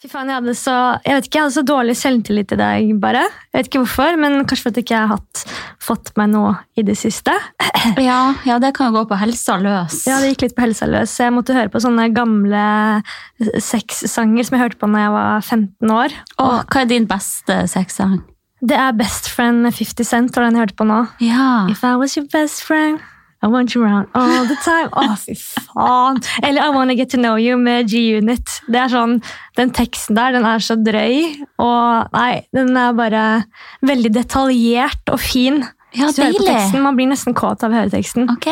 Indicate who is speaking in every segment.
Speaker 1: Fy faen, jeg hadde så, jeg vet ikke, jeg hadde så dårlig selvtillit i dag, bare. Jeg vet ikke hvorfor, men kanskje for at jeg ikke har hatt, fått meg noe i det siste.
Speaker 2: Ja, ja, det kan jo gå på helsa løs.
Speaker 1: Ja, det gikk litt på helsa løs. så Jeg måtte høre på sånne gamle sexsanger som jeg hørte på når jeg var 15 år.
Speaker 2: Åh, hva er din beste sexsang?
Speaker 1: Det er Best Friend med 50 Cent, og den jeg hørte på nå.
Speaker 2: Ja.
Speaker 1: If I was your best friend, I want you around all the time. Å, fy faen. Eller I wanna get to know you med G-Unit. Det er sånn, Den teksten der den er så drøy. Og nei, den er bare veldig detaljert og fin.
Speaker 2: Ja,
Speaker 1: Hvis du hører på
Speaker 2: deilig. Ah.
Speaker 1: teksten, Man blir nesten kåt av å høre teksten.
Speaker 2: Ok.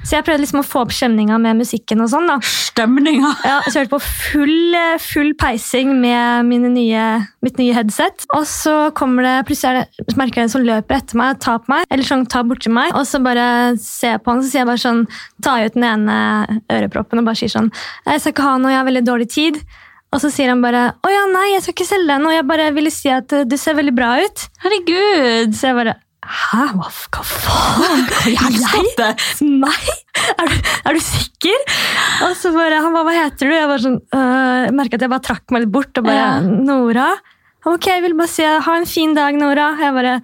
Speaker 1: Så jeg prøvde liksom å få opp stemninga med musikken. og sånn da.
Speaker 2: Stemninga.
Speaker 1: Ja, så jeg hørte på full, eh, full peising med mine nye, mitt nye headset. Og så kommer det, plutselig er det, så merker jeg en som løper etter meg og tar på meg. Eller sånn, tar borti meg. Og så bare ser jeg på han, så sier jeg bare sånn, tar jeg ut den ene øreproppen og bare sier sånn Jeg skal ikke ha noe, jeg har veldig dårlig tid. Og så sier han bare å ja, nei, jeg skal ikke selge den, og jeg bare ville si at eh, du ser veldig bra ut.
Speaker 2: Herregud.
Speaker 1: Så jeg bare Hæ, hva, f- hva faen? Jeg? Nei? Er du, er du sikker? Og så bare Han ba, hva heter du? Jeg var sånn, øh, jeg merket at jeg bare trakk meg litt bort og bare
Speaker 2: Ja.
Speaker 1: Nora? Ok, jeg vil bare si ha en fin dag, Nora. Jeg bare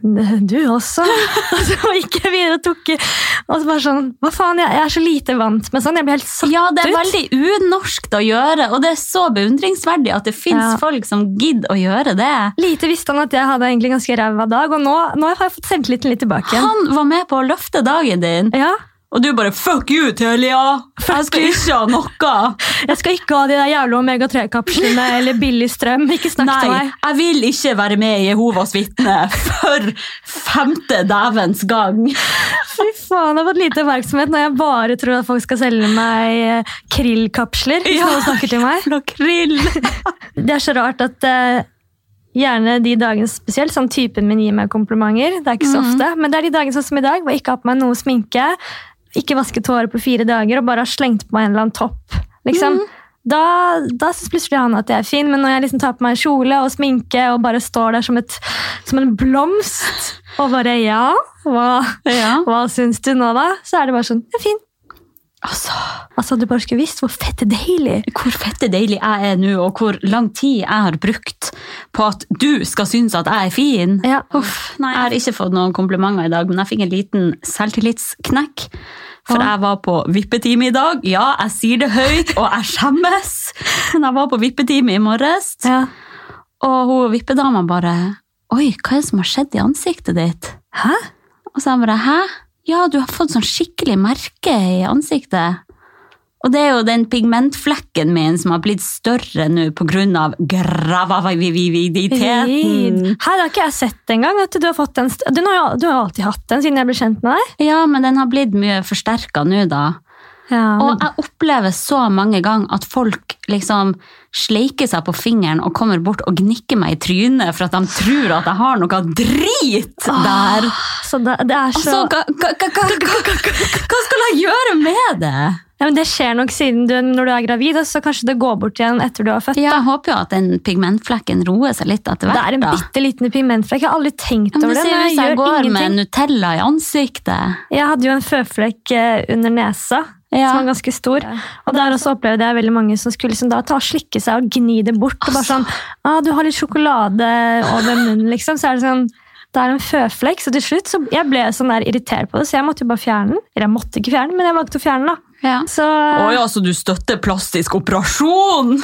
Speaker 1: du også? Og så gikk jeg videre og tok Og så bare sånn Hva faen, jeg, jeg er så lite vant med sånn. Jeg blir helt satt
Speaker 2: Ja, det er
Speaker 1: ut.
Speaker 2: veldig unorskt å gjøre, og det er så beundringsverdig at det finnes
Speaker 1: Ja.
Speaker 2: folk som gidder å gjøre det.
Speaker 1: Lite visste han at jeg hadde egentlig ganske ræva dag, og nå, nå har jeg fått selvtilliten litt tilbake igjen.
Speaker 2: Han var med på å løfte dagen din,
Speaker 1: Ja,
Speaker 2: og du bare 'fuck you, Telia'! Jeg skal ikke ha noe!
Speaker 1: Jeg skal ikke ha de der jævla omega-3-kapslene eller billig strøm. Ikke snakk til
Speaker 2: Nei,
Speaker 1: meg.
Speaker 2: jeg vil ikke være med i Jehovas vitne for femte dævens gang.
Speaker 1: Fy faen, jeg har fått lite oppmerksomhet når jeg bare tror at folk skal selge meg eh, krill-kapsler. hvis
Speaker 2: Ja.
Speaker 1: noen snakker til meg.
Speaker 2: Lakrill.
Speaker 1: Det er så rart at eh, gjerne de dagene spesielt, sånn typen min gir meg komplimenter. Det er ikke så ofte. Men det er de dagene sånn som i dag, hvor jeg ikke har på meg noe sminke, ikke vasket håret på fire dager og bare har slengt på meg en eller annen topp. liksom. Da, da syns plutselig han at jeg er fin, men når jeg liksom tar på meg en kjole og sminke og bare står der som, et, som en blomst og bare Ja, hva,
Speaker 2: Ja.
Speaker 1: hva syns du nå, da? Så er det bare sånn Det er fint.
Speaker 2: Altså,
Speaker 1: Altså, du bare skulle visst hvor fett deilig.
Speaker 2: hvor fette deilig jeg er nå, og hvor lang tid jeg har brukt på at du skal synes at jeg er fin.
Speaker 1: Ja.
Speaker 2: Uff, nei, jeg har ikke fått noen komplimenter i dag, men jeg fikk en liten selvtillitsknekk. For
Speaker 1: Ja.
Speaker 2: jeg var på vippetime i dag. Ja, jeg sier det høyt, og jeg skjemmes. Men jeg var på vippetime i morges,
Speaker 1: Ja.
Speaker 2: og hun vippedama bare Oi, hva er det som har skjedd i ansiktet ditt?
Speaker 1: Hæ?
Speaker 2: Og så jeg bare, hæ? Ja, du har fått sånn skikkelig merke i ansiktet. Og det er jo den pigmentflekken min som har blitt større nå på grunn av gravividiteten.
Speaker 1: Her har ikke jeg sett engang at du har fått den. st- Du, nå har jo- du har jo alltid hatt den siden jeg ble kjent med deg.
Speaker 2: Ja, men den har blitt mye forsterket nå da.
Speaker 1: Ja, men,
Speaker 2: Og jeg opplever så mange ganger at folk liksom sleiker seg på fingeren og kommer bort og gnikker meg i trynet for at de tror at jeg har noe drit der.
Speaker 1: Ah. så det, det er så,
Speaker 2: Altså, hva, hva, hva, hva, hva, hva skal jeg gjøre med det?
Speaker 1: ja, men det skjer nok siden du, når du er gravid, og så kanskje det går bort igjen etter du har født.
Speaker 2: Ja, jeg håper jo at den pigmentflekken roer seg litt etter
Speaker 1: Det
Speaker 2: hvert.
Speaker 1: er en
Speaker 2: da.
Speaker 1: bitte liten pigmentflekk. Jeg har aldri tenkt
Speaker 2: Ja,
Speaker 1: over
Speaker 2: men
Speaker 1: det.
Speaker 2: det ser
Speaker 1: men
Speaker 2: ut som
Speaker 1: jeg
Speaker 2: jeg
Speaker 1: gjør
Speaker 2: går med
Speaker 1: ingenting.
Speaker 2: Nutella i ansiktet.
Speaker 1: Jeg hadde jo en føflekk eh, under nesa.
Speaker 2: Ja.
Speaker 1: Som var ganske stor. Og der også opplevde jeg veldig mange som skulle liksom da ta og slikke seg og gni det bort. Og bare
Speaker 2: Altså.
Speaker 1: sånn, ah, 'Du har litt sjokolade over munnen', liksom. Så er det sånn det er en føflekk, så til slutt så jeg ble sånn der irritert på det, så jeg måtte jo bare fjerne den. Eller jeg måtte ikke fjerne den, men jeg valgte å fjerne den. da.
Speaker 2: Ja.
Speaker 1: Så
Speaker 2: ja, så altså, du støtter plastisk operasjon?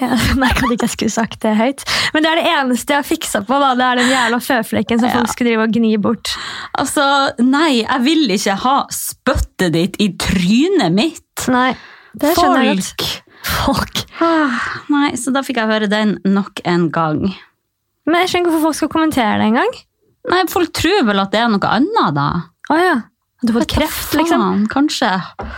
Speaker 1: ja, Nei, jeg hadde ikke jeg skulle sagt det høyt. Men det er det eneste jeg har fiksa på. da, Det er den jævla føflekken som folk skulle drive og gni bort.
Speaker 2: Altså, nei, jeg vil ikke ha spyttet ditt i trynet mitt.
Speaker 1: Nei, det skjønner jeg godt.
Speaker 2: Folk!
Speaker 1: Folk.
Speaker 2: Ah, nei, så da fikk jeg høre den nok en gang.
Speaker 1: Men jeg skjønner ikke hvorfor folk skal kommentere det engang.
Speaker 2: Nei, folk tror vel at det er noe annet, da.
Speaker 1: Å ja. Du har fått
Speaker 2: Hva
Speaker 1: kreft, liksom.
Speaker 2: faen, Kanskje.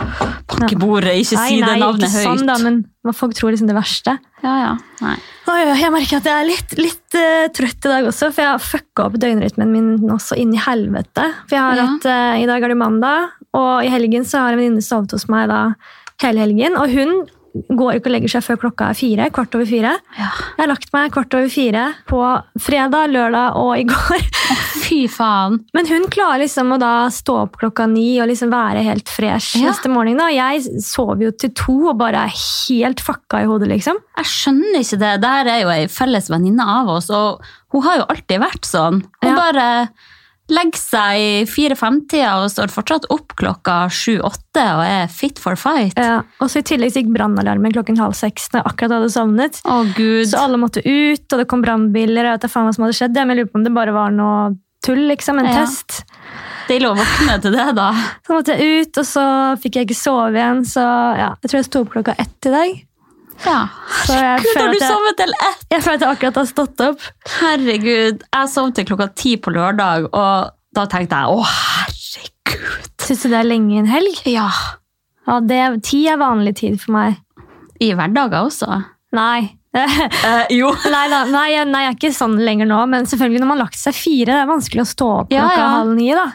Speaker 2: Bank i bordet, ikke si det
Speaker 1: ikke
Speaker 2: navnet høyt.
Speaker 1: sånn, da, men hva folk tror liksom det verste.
Speaker 2: Ja, ja. Nei.
Speaker 1: Oi, oi, jeg merker at jeg er litt, litt eh, trøtt i dag også, for jeg har fucka opp døgnrytmen min nå så inn i helvete. For jeg har
Speaker 2: Ja.
Speaker 1: hatt, eh, I dag er det mandag, og i helgen så har en venninne sovet hos meg da, hele helgen. Og hun går ikke og legger seg før klokka er fire, kvart over fire.
Speaker 2: Ja.
Speaker 1: Jeg har lagt meg kvart over fire på fredag, lørdag og i går.
Speaker 2: Fy Fy faen.
Speaker 1: Men hun klarer liksom å da stå opp klokka ni og liksom være helt fresh
Speaker 2: Ja.
Speaker 1: neste morgen. da. Jeg sover jo til to og bare er helt fucka i hodet, liksom.
Speaker 2: Jeg skjønner ikke det. Det her er jo ei felles venninne av oss, og hun har jo alltid vært sånn.
Speaker 1: Ja.
Speaker 2: Hun bare legger seg i fire-fem-tida og står fortsatt opp klokka sju-åtte og er fit for fight. Å,
Speaker 1: Ja. Eh, Og så i tillegg så gikk brannalarmen klokken halv seks når jeg akkurat hadde sovnet.
Speaker 2: gud.
Speaker 1: Så alle måtte ut, og det kom brannbiler, og jeg vet da faen hva som hadde skjedd. Men jeg lurer på om det bare var noe tull, liksom. En
Speaker 2: Ja.
Speaker 1: test.
Speaker 2: Deilig å våkne til det, da.
Speaker 1: Så måtte jeg ut, og så fikk jeg ikke sove igjen, så ja. Jeg tror jeg sto opp klokka ett i dag.
Speaker 2: Ja.
Speaker 1: Så jeg
Speaker 2: Gud, har
Speaker 1: føler
Speaker 2: du
Speaker 1: at jeg,
Speaker 2: sovet til ett?
Speaker 1: jeg føler at jeg akkurat har stått opp.
Speaker 2: Herregud. Jeg sov til klokka ti på lørdag, og da tenkte jeg å, herregud.
Speaker 1: Syns du det er lenge i en helg?
Speaker 2: Ja.
Speaker 1: Ja, det, Ti er vanlig tid for meg.
Speaker 2: I hverdager også.
Speaker 1: Nei. nei,
Speaker 2: Eh, jo.
Speaker 1: da, nei, jeg- nei, jeg er ikke sånn lenger nå, men selvfølgelig når man har lagt seg fire, det er vanskelig å stå opp
Speaker 2: Ja,
Speaker 1: klokka
Speaker 2: ja.
Speaker 1: halv ni. da.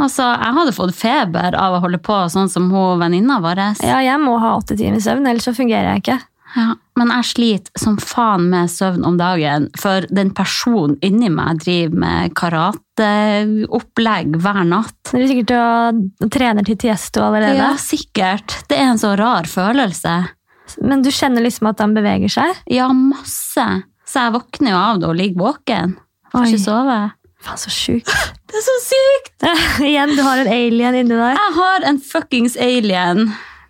Speaker 2: Altså, jeg hadde fått feber av å holde på sånn som hun venninna vår.
Speaker 1: Ja, Jeg må ha åtte timer søvn, ellers så fungerer jeg ikke.
Speaker 2: Ja, men jeg sliter som faen med søvn om dagen, for den personen inni meg driver med karateopplegg hver natt.
Speaker 1: Så Du er sikkert og, og trener til Tiesto allerede,
Speaker 2: Ja, sikkert. Det er en så rar følelse.
Speaker 1: men du kjenner liksom at han beveger seg?
Speaker 2: Ja, masse. Så jeg våkner jo av det og ligger våken. Får
Speaker 1: Oi.
Speaker 2: ikke sove.
Speaker 1: Faen, så sjukt.
Speaker 2: Det er så sykt!
Speaker 1: Igjen, du har en alien inni deg
Speaker 2: Jeg har en fuckings alien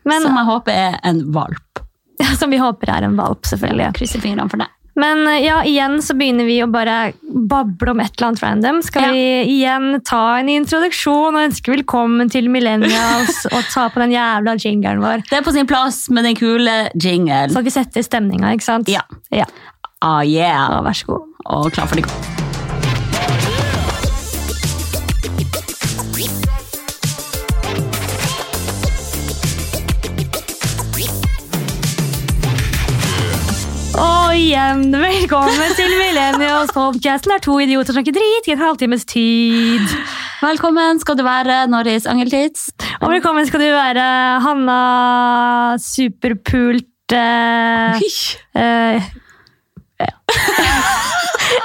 Speaker 1: Men-
Speaker 2: som jeg håper er en valp.
Speaker 1: som vi håper er en valp, selvfølgelig.
Speaker 2: Jeg krysser fingrene for det.
Speaker 1: Men eh, ja, igjen så begynner vi å bare bable om et eller annet random. Skal
Speaker 2: Ja.
Speaker 1: vi igjen ta en introduksjon og ønske velkommen til Millennials og ta på den jævla jingeren vår?
Speaker 2: Det er på sin plass med den kule
Speaker 1: Så
Speaker 2: jingelen.
Speaker 1: at vi setter stemninga, ikke sant?
Speaker 2: Ja.
Speaker 1: ja.
Speaker 2: Ah, yeah.
Speaker 1: Ja, Vær så god.
Speaker 2: Og klar for det
Speaker 1: Og igjen, velkommen til Millennials podcasten der to idioter snakker drit i en halvtimes tid.
Speaker 2: Velkommen skal du være, Norris Angeltids.
Speaker 1: Og velkommen skal du være, Hanna Superpult eh, Eh, ja.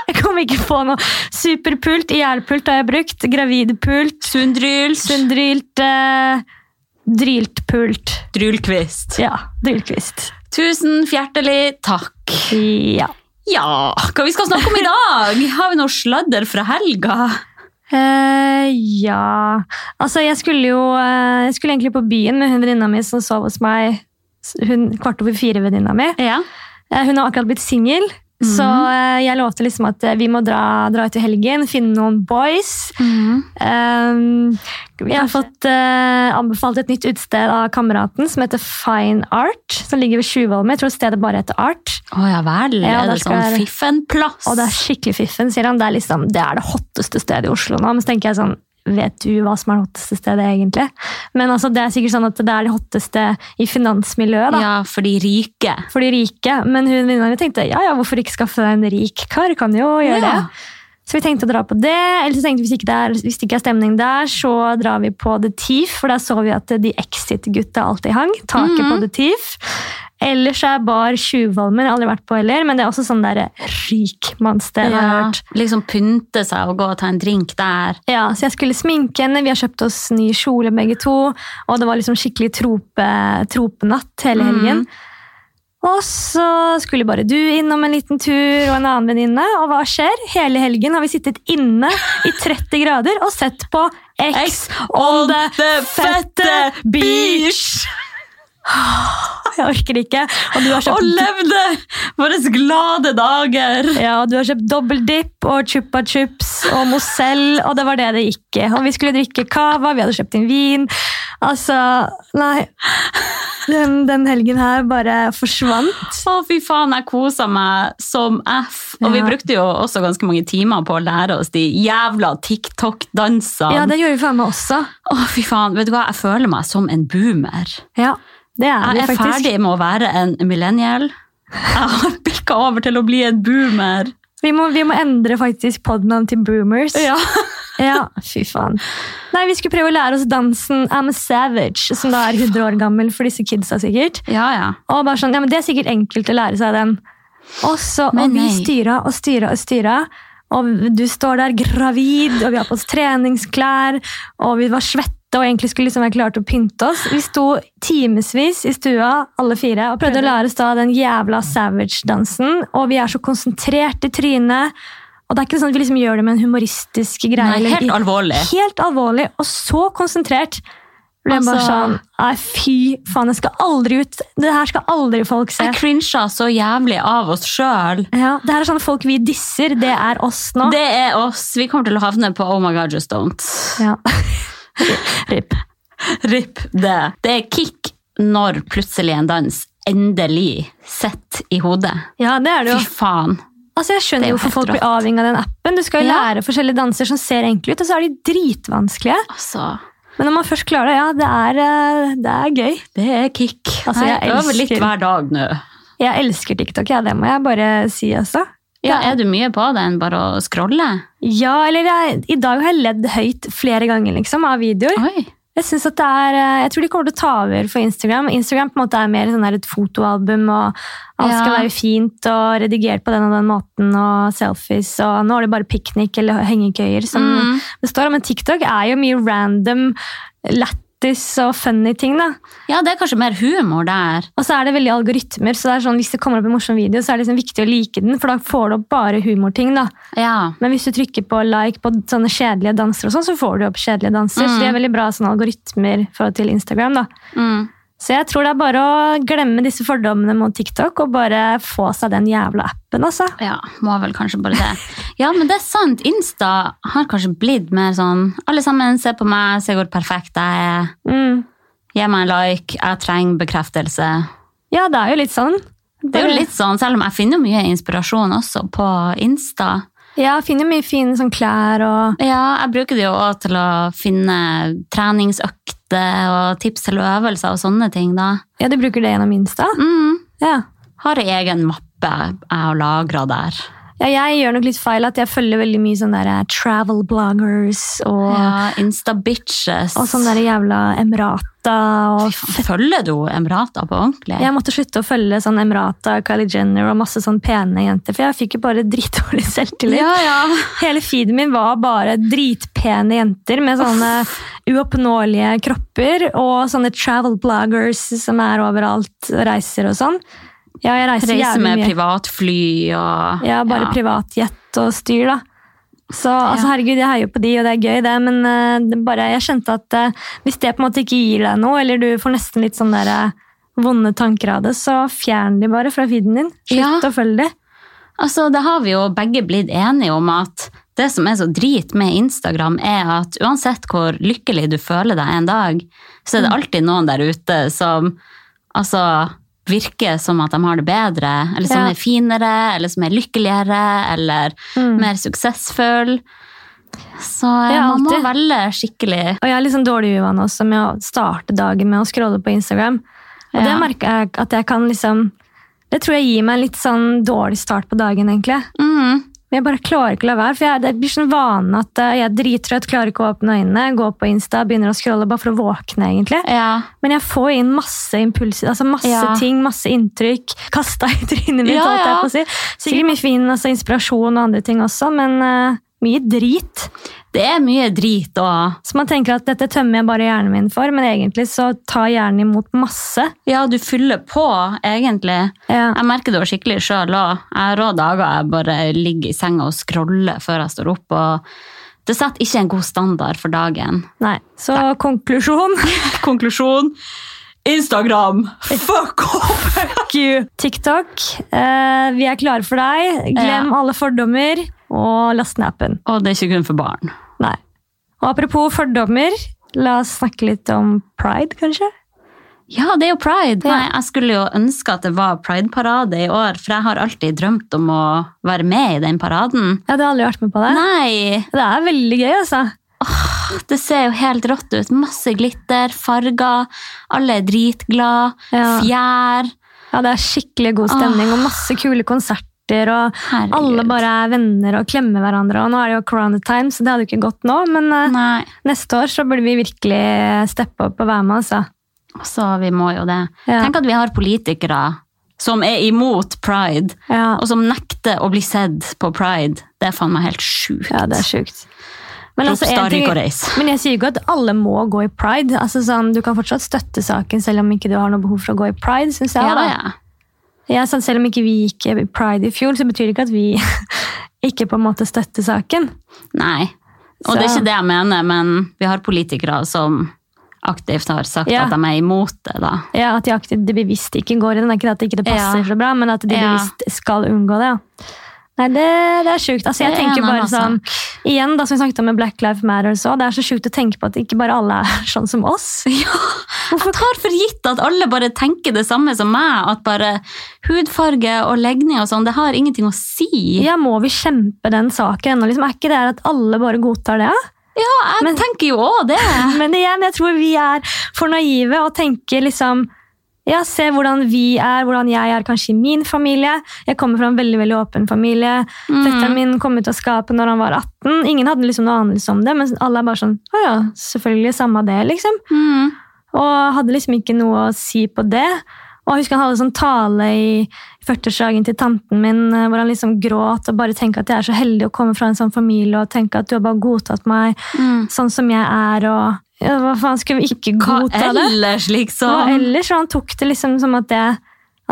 Speaker 1: jeg kom ikke på noe. Superpult, IL-pult har jeg brukt. Gravidpult.
Speaker 2: Sundryls.
Speaker 1: Sundrylt. eh, dryltpult.
Speaker 2: Drylkvist.
Speaker 1: Ja, dryltkvist.
Speaker 2: Tusen fjertelig takk.
Speaker 1: Ja.
Speaker 2: Ja, hva vi skal snakke om i dag? Har vi noe sladder fra helga?
Speaker 1: Eh, ja Altså, jeg skulle jo eh, Jeg skulle egentlig på byen med hun venninna mi som sov hos meg. Hun kvart over fire-venninna mi.
Speaker 2: Ja.
Speaker 1: Eh, Hun har akkurat blitt singel, så eh, jeg lovte liksom at eh, vi må dra, dra ut i helgen, finne noen boys.
Speaker 2: Mhm.
Speaker 1: Um, jeg har fått eh, anbefalt et nytt utsted av kameraten som heter Fine Art. Som ligger ved Tjuvholmen. Jeg tror stedet bare heter Art.
Speaker 2: Å ja vel,
Speaker 1: Ja,
Speaker 2: er
Speaker 1: der
Speaker 2: det
Speaker 1: skal
Speaker 2: sånn
Speaker 1: jeg-
Speaker 2: fiffenplass?
Speaker 1: Og det er skikkelig fiffen, sier han. Det er, liksom, det er det hotteste stedet i Oslo nå. Men så tenker jeg sånn Vet du hva som er det hotteste stedet, egentlig? Men altså, det er sikkert sånn at det er det hotteste i finansmiljøet. da.
Speaker 2: Ja, for de rike.
Speaker 1: For de rike. Men hun venninna mi tenkte ja, ja, hvorfor ikke skaffe deg en rik kar? Kan jo gjøre
Speaker 2: Ja.
Speaker 1: det. Så vi tenkte å dra på det. Eller så tenkte vi hvis ikke det er, hvis det ikke er stemning der, så drar vi på The Thief, for der så vi at de Exit-gutta alltid hang. Taket på The Thief. Ellers er bar Tjuvholmen, jeg har aldri vært på heller, men det er også sånn der rikmannssted. har jeg hørt.
Speaker 2: Liksom pynte seg og gå og ta en drink der.
Speaker 1: Ja, så jeg skulle sminke henne. Vi har kjøpt oss ny kjole begge to. Og det var liksom skikkelig trope, tropenatt hele helgen. Og så skulle bare du innom en liten tur og en annen venninne. Og hva skjer? Hele helgen har vi sittet inne i 30 grader og sett på X.
Speaker 2: on
Speaker 1: the fette beach. Jeg orker ikke. Og du har
Speaker 2: Og
Speaker 1: kjøpt,
Speaker 2: levde våre glade dager.
Speaker 1: ja, og du har kjøpt dobbel dip og chupa chups og Mozell, og det var det det gikk i. Og vi skulle drikke cava, vi hadde kjøpt inn vin. Altså, nei. Den, den helgen her bare forsvant.
Speaker 2: Å, fy faen, jeg kosa meg som F. Og vi
Speaker 1: Ja.
Speaker 2: brukte jo også ganske mange timer på å lære oss de jævla TikTok-dansene.
Speaker 1: Ja, det gjorde vi faen meg også.
Speaker 2: Å, fy faen, vet du hva, jeg føler meg som en boomer.
Speaker 1: Ja, det er vi
Speaker 2: Jeg er
Speaker 1: faktisk.
Speaker 2: ferdig med å være en millennial. Jeg har bikka over til å bli en boomer.
Speaker 1: Vi må, vi må endre faktisk podnavn til Boomers.
Speaker 2: Ja.
Speaker 1: Ja, fy faen. Nei, Vi skulle prøve å lære oss dansen I'm a Savage, som da er 100 år gammel for disse kidsa. sikkert.
Speaker 2: Ja, ja.
Speaker 1: Og bare sånn, ja, men Det er sikkert enkelt å lære seg den. Og så, og
Speaker 2: Men
Speaker 1: vi
Speaker 2: nei.
Speaker 1: styra og styra og styra. Og du står der gravid, og vi har på oss treningsklær, og vi var svette og egentlig skulle liksom være klare til å pynte oss. Vi sto timevis i stua, alle fire, og prøvde å lære oss da den jævla savage-dansen. Og vi er så konsentrert i trynet. Og det er ikke sånn at vi liksom gjør det med en humoristisk greie.
Speaker 2: Nei,
Speaker 1: eller-
Speaker 2: helt alvorlig.
Speaker 1: helt alvorlig og så konsentrert. Ble jeg bare
Speaker 2: Altså-
Speaker 1: sånn Nei, fy faen, jeg skal aldri ut. Det her skal aldri folk se.
Speaker 2: Jeg crincha så jævlig av oss sjøl.
Speaker 1: Ja, det her er sånne folk vi disser. Det er oss nå.
Speaker 2: Det er oss. Vi kommer til å havne på Oh my God, just don't.
Speaker 1: Ja. Rip.
Speaker 2: Ripp det. Det er kick når plutselig en dans endelig sitter i hodet.
Speaker 1: Ja, det er det
Speaker 2: Fy
Speaker 1: jo.
Speaker 2: faen.
Speaker 1: Altså, Jeg
Speaker 2: Det er
Speaker 1: skjønner
Speaker 2: jo
Speaker 1: jo hvorfor
Speaker 2: helt
Speaker 1: folk blir
Speaker 2: rått.
Speaker 1: avhengig av den appen. Du skal jo
Speaker 2: Ja.
Speaker 1: lære forskjellige danser som ser enkle ut, og så er de dritvanskelige.
Speaker 2: Altså,
Speaker 1: Men når man først klarer det, ja, det er, eh, det er gøy.
Speaker 2: det er kick.
Speaker 1: Altså, jeg
Speaker 2: jeg øver litt
Speaker 1: elsker-
Speaker 2: hver dag nå.
Speaker 1: Jeg elsker TikTok, ja, det må jeg bare si, altså.
Speaker 2: Ja, Er du mye på det enn bare å scrolle?
Speaker 1: Ja, eller jeg, I dag har jeg ledd høyt flere ganger liksom, av videoer.
Speaker 2: Oi.
Speaker 1: Jeg synes at det er, eh, jeg tror de kommer til å ta over for Instagram. Instagram på en måte er mer sånn der et fotoalbum, og alt skal
Speaker 2: Ja.
Speaker 1: være fint og redigert på den og den måten, og selfies. Og nå er det bare piknik eller hengekøyer som
Speaker 2: Mm.
Speaker 1: består. Men TikTok er jo mye random, lættis og funny ting. da.
Speaker 2: Ja, det er kanskje mer humor der.
Speaker 1: Og så er det veldig algoritmer, så det er sånn, hvis det kommer opp en morsom video, så er det liksom viktig å like den, for da får du opp bare humorting. da.
Speaker 2: Ja.
Speaker 1: Men hvis du trykker på like på sånne kjedelige danser, og sånn, så får du opp kjedelige danser.
Speaker 2: Mm.
Speaker 1: Så de er veldig bra sånne algoritmer i forhold til Instagram. da.
Speaker 2: Mm.
Speaker 1: Så jeg tror det er bare å glemme disse fordommene mot TikTok og bare få seg den jævla appen, altså.
Speaker 2: Ja, må vel kanskje bare det. Ja, men det er sant. Insta har kanskje blitt mer sånn Alle sammen, se på meg, se hvor perfekt jeg er.
Speaker 1: Mm.
Speaker 2: Gi meg en like. Jeg trenger bekreftelse.
Speaker 1: Ja, det er jo litt sånn.
Speaker 2: Det er jo litt sånn, Selv om jeg finner mye inspirasjon også på Insta.
Speaker 1: Ja, finner mye fine sånn klær og
Speaker 2: Ja, jeg bruker det jo òg til å finne treningsøkter og tips til øvelser og sånne ting, da.
Speaker 1: Ja, du bruker det gjennom Insta?
Speaker 2: Mm.
Speaker 1: Ja.
Speaker 2: Har ei egen mappe jeg har lagra der.
Speaker 1: ja. Jeg gjør nok litt feil at jeg følger veldig mye sånne der eh, travel bloggers og,
Speaker 2: Ja, Insta-bitches.
Speaker 1: og sånne der jævla Emirata og
Speaker 2: Følger du Emirata på ordentlig?
Speaker 1: Jeg måtte slutte å følge sånn Emirata, Kylie Jenner og masse sånn pene jenter, for jeg fikk jo bare dritdårlig selvtillit.
Speaker 2: ja, ja.
Speaker 1: Hele feeden min var bare dritpene jenter med sånne uoppnåelige kropper og sånne travel bloggers som er overalt og reiser og sånn. Ja, jeg reiser
Speaker 2: Reise
Speaker 1: jævlig
Speaker 2: med
Speaker 1: mye.
Speaker 2: privatfly og
Speaker 1: Ja, bare privatjet og styr, da. Så altså, herregud, jeg heier jo på de, og det er gøy, det, men eh, det er bare, jeg kjente at eh, hvis det på en måte ikke gir deg noe, eller du får nesten litt sånn der eh, vonde tanker av det, så fjern de bare fra feeden din. Slutt å
Speaker 2: Ja.
Speaker 1: følge de.
Speaker 2: Altså, det har vi jo begge blitt enige om at det som er så drit med Instagram, er at uansett hvor lykkelig du føler deg en dag,
Speaker 1: Mm.
Speaker 2: så er det alltid noen der ute som altså, virker som at de har det bedre, eller som
Speaker 1: Ja.
Speaker 2: er finere, eller som er lykkeligere, eller
Speaker 1: Mm.
Speaker 2: mer suksessfull. Så eh,
Speaker 1: Ja,
Speaker 2: man må
Speaker 1: alltid.
Speaker 2: velge skikkelig.
Speaker 1: Og jeg er litt sånn dårlig uvane også med å starte dagen med å scrolle på Instagram. Og det
Speaker 2: Ja.
Speaker 1: merker jeg at jeg kan liksom Det tror jeg gir meg en litt sånn dårlig start på dagen, egentlig.
Speaker 2: Mm.
Speaker 1: Men jeg bare klarer ikke å la være, for jeg, det blir sånn vane at eh, jeg er drittrøtt, klarer ikke å åpne øynene, går på Insta, begynner å scrolle bare for å våkne, egentlig.
Speaker 2: Ja.
Speaker 1: Men jeg får inn masse impulser, altså masse
Speaker 2: Ja.
Speaker 1: ting, masse inntrykk, kasta i trynet mitt,
Speaker 2: Ja,
Speaker 1: holdt jeg
Speaker 2: ja.
Speaker 1: på å si. Sikkert mye fin altså inspirasjon og andre ting også, men eh, mye drit.
Speaker 2: Det er mye drit og
Speaker 1: Så man tenker at dette tømmer jeg bare hjernen min for, men egentlig så tar hjernen imot masse.
Speaker 2: Ja, du fyller på, egentlig.
Speaker 1: Ja.
Speaker 2: Jeg merker det jo skikkelig sjøl òg. Jeg har rå dager jeg bare ligger i senga og scroller før jeg står opp. og Det setter ikke en god standard for dagen.
Speaker 1: Nei. Så konklusjon
Speaker 2: Konklusjon Instagram! Fuck off!
Speaker 1: Fuck you! TikTok, eh, vi er klare for deg. Glem alle fordommer, og last ned appen.
Speaker 2: Og det er ikke kun for barn.
Speaker 1: Nei. Og apropos fordommer, la oss snakke litt om pride, kanskje?
Speaker 2: Ja, det er jo pride.
Speaker 1: Ja.
Speaker 2: Nei, jeg skulle jo ønske at det var prideparade i år, for jeg har alltid drømt om å være med i den paraden.
Speaker 1: Jeg hadde aldri vært med på det.
Speaker 2: Nei!
Speaker 1: Det er veldig gøy, altså.
Speaker 2: Det ser jo helt rått ut. Masse glitter, farger, alle er dritglade,
Speaker 1: Ja.
Speaker 2: fjær.
Speaker 1: Ja, det er skikkelig god stemning, og masse kule konserter, og
Speaker 2: Herregud.
Speaker 1: alle bare er venner og klemmer hverandre, og nå er det jo corona time, så det hadde jo ikke gått nå, men eh,
Speaker 2: Nei.
Speaker 1: neste år så burde vi virkelig steppe opp og være med, altså.
Speaker 2: Så vi må jo det.
Speaker 1: Ja.
Speaker 2: Tenk at vi har politikere som er imot pride,
Speaker 1: Ja.
Speaker 2: og som nekter å bli sett på pride. Det er faen meg helt sjukt.
Speaker 1: Ja, det er sjukt. Men,
Speaker 2: Rop
Speaker 1: altså, en
Speaker 2: Starik
Speaker 1: ting-
Speaker 2: og reis.
Speaker 1: men jeg sier jo ikke at alle må gå i pride. Altså, sånn, du kan fortsatt støtte saken selv om ikke du har noe behov for å gå i pride. Synes jeg,
Speaker 2: Ja,
Speaker 1: da.
Speaker 2: ja.
Speaker 1: Jeg, sånn, selv om ikke vi gikk i pride i fjor, så betyr det ikke at vi ikke på en måte støtter saken.
Speaker 2: Nei.
Speaker 1: Så-
Speaker 2: Og det er ikke det jeg mener, men vi har politikere som aktivt har sagt
Speaker 1: Ja.
Speaker 2: at de er imot det, da.
Speaker 1: Ja, At de, aktivt, de bevisst ikke går i den. Ikke at det ikke passer
Speaker 2: Ja.
Speaker 1: så bra, men at de
Speaker 2: Ja.
Speaker 1: bevisst skal unngå det. Ja. Nei, det, det er sjukt. Altså, jeg
Speaker 2: Det er
Speaker 1: tenker
Speaker 2: en
Speaker 1: bare
Speaker 2: annen
Speaker 1: sånn, igjen, da som vi snakket om med Black Lives Matter, så, det er så sjukt å tenke på at ikke bare alle er sånn som oss.
Speaker 2: Jeg tar for gitt at alle bare tenker det samme som meg, at bare hudfarge og legning og sånn, det har ingenting å si.
Speaker 1: Ja, må vi kjempe den saken? Og liksom, er ikke det at alle bare godtar det?
Speaker 2: Ja, jeg tenker jo òg det.
Speaker 1: Men igjen, jeg tror vi er for naive og tenker liksom ja, Se hvordan vi er, hvordan jeg er kanskje i min familie. Jeg kommer fra en veldig veldig åpen familie.
Speaker 2: Mm.
Speaker 1: Fetteren min kom ut av skapet når han var 18. Ingen hadde liksom noe anelse om det, men alle er bare sånn Å ja, selvfølgelig. Samme det, liksom.
Speaker 2: Mm.
Speaker 1: Og hadde liksom ikke noe å si på det. Og jeg husker han hadde sånn tale i 40-årsdagen til tanten min, eh, hvor han liksom gråt og bare tenker at jeg er så heldig å komme fra en sånn familie og tenke at du har bare godtatt meg
Speaker 2: Mm.
Speaker 1: sånn som jeg er, og ja, hva faen, skulle vi ikke
Speaker 2: Hva
Speaker 1: godta det?
Speaker 2: ellers,
Speaker 1: Hva
Speaker 2: liksom?
Speaker 1: ellers? Og han tok det liksom som at det,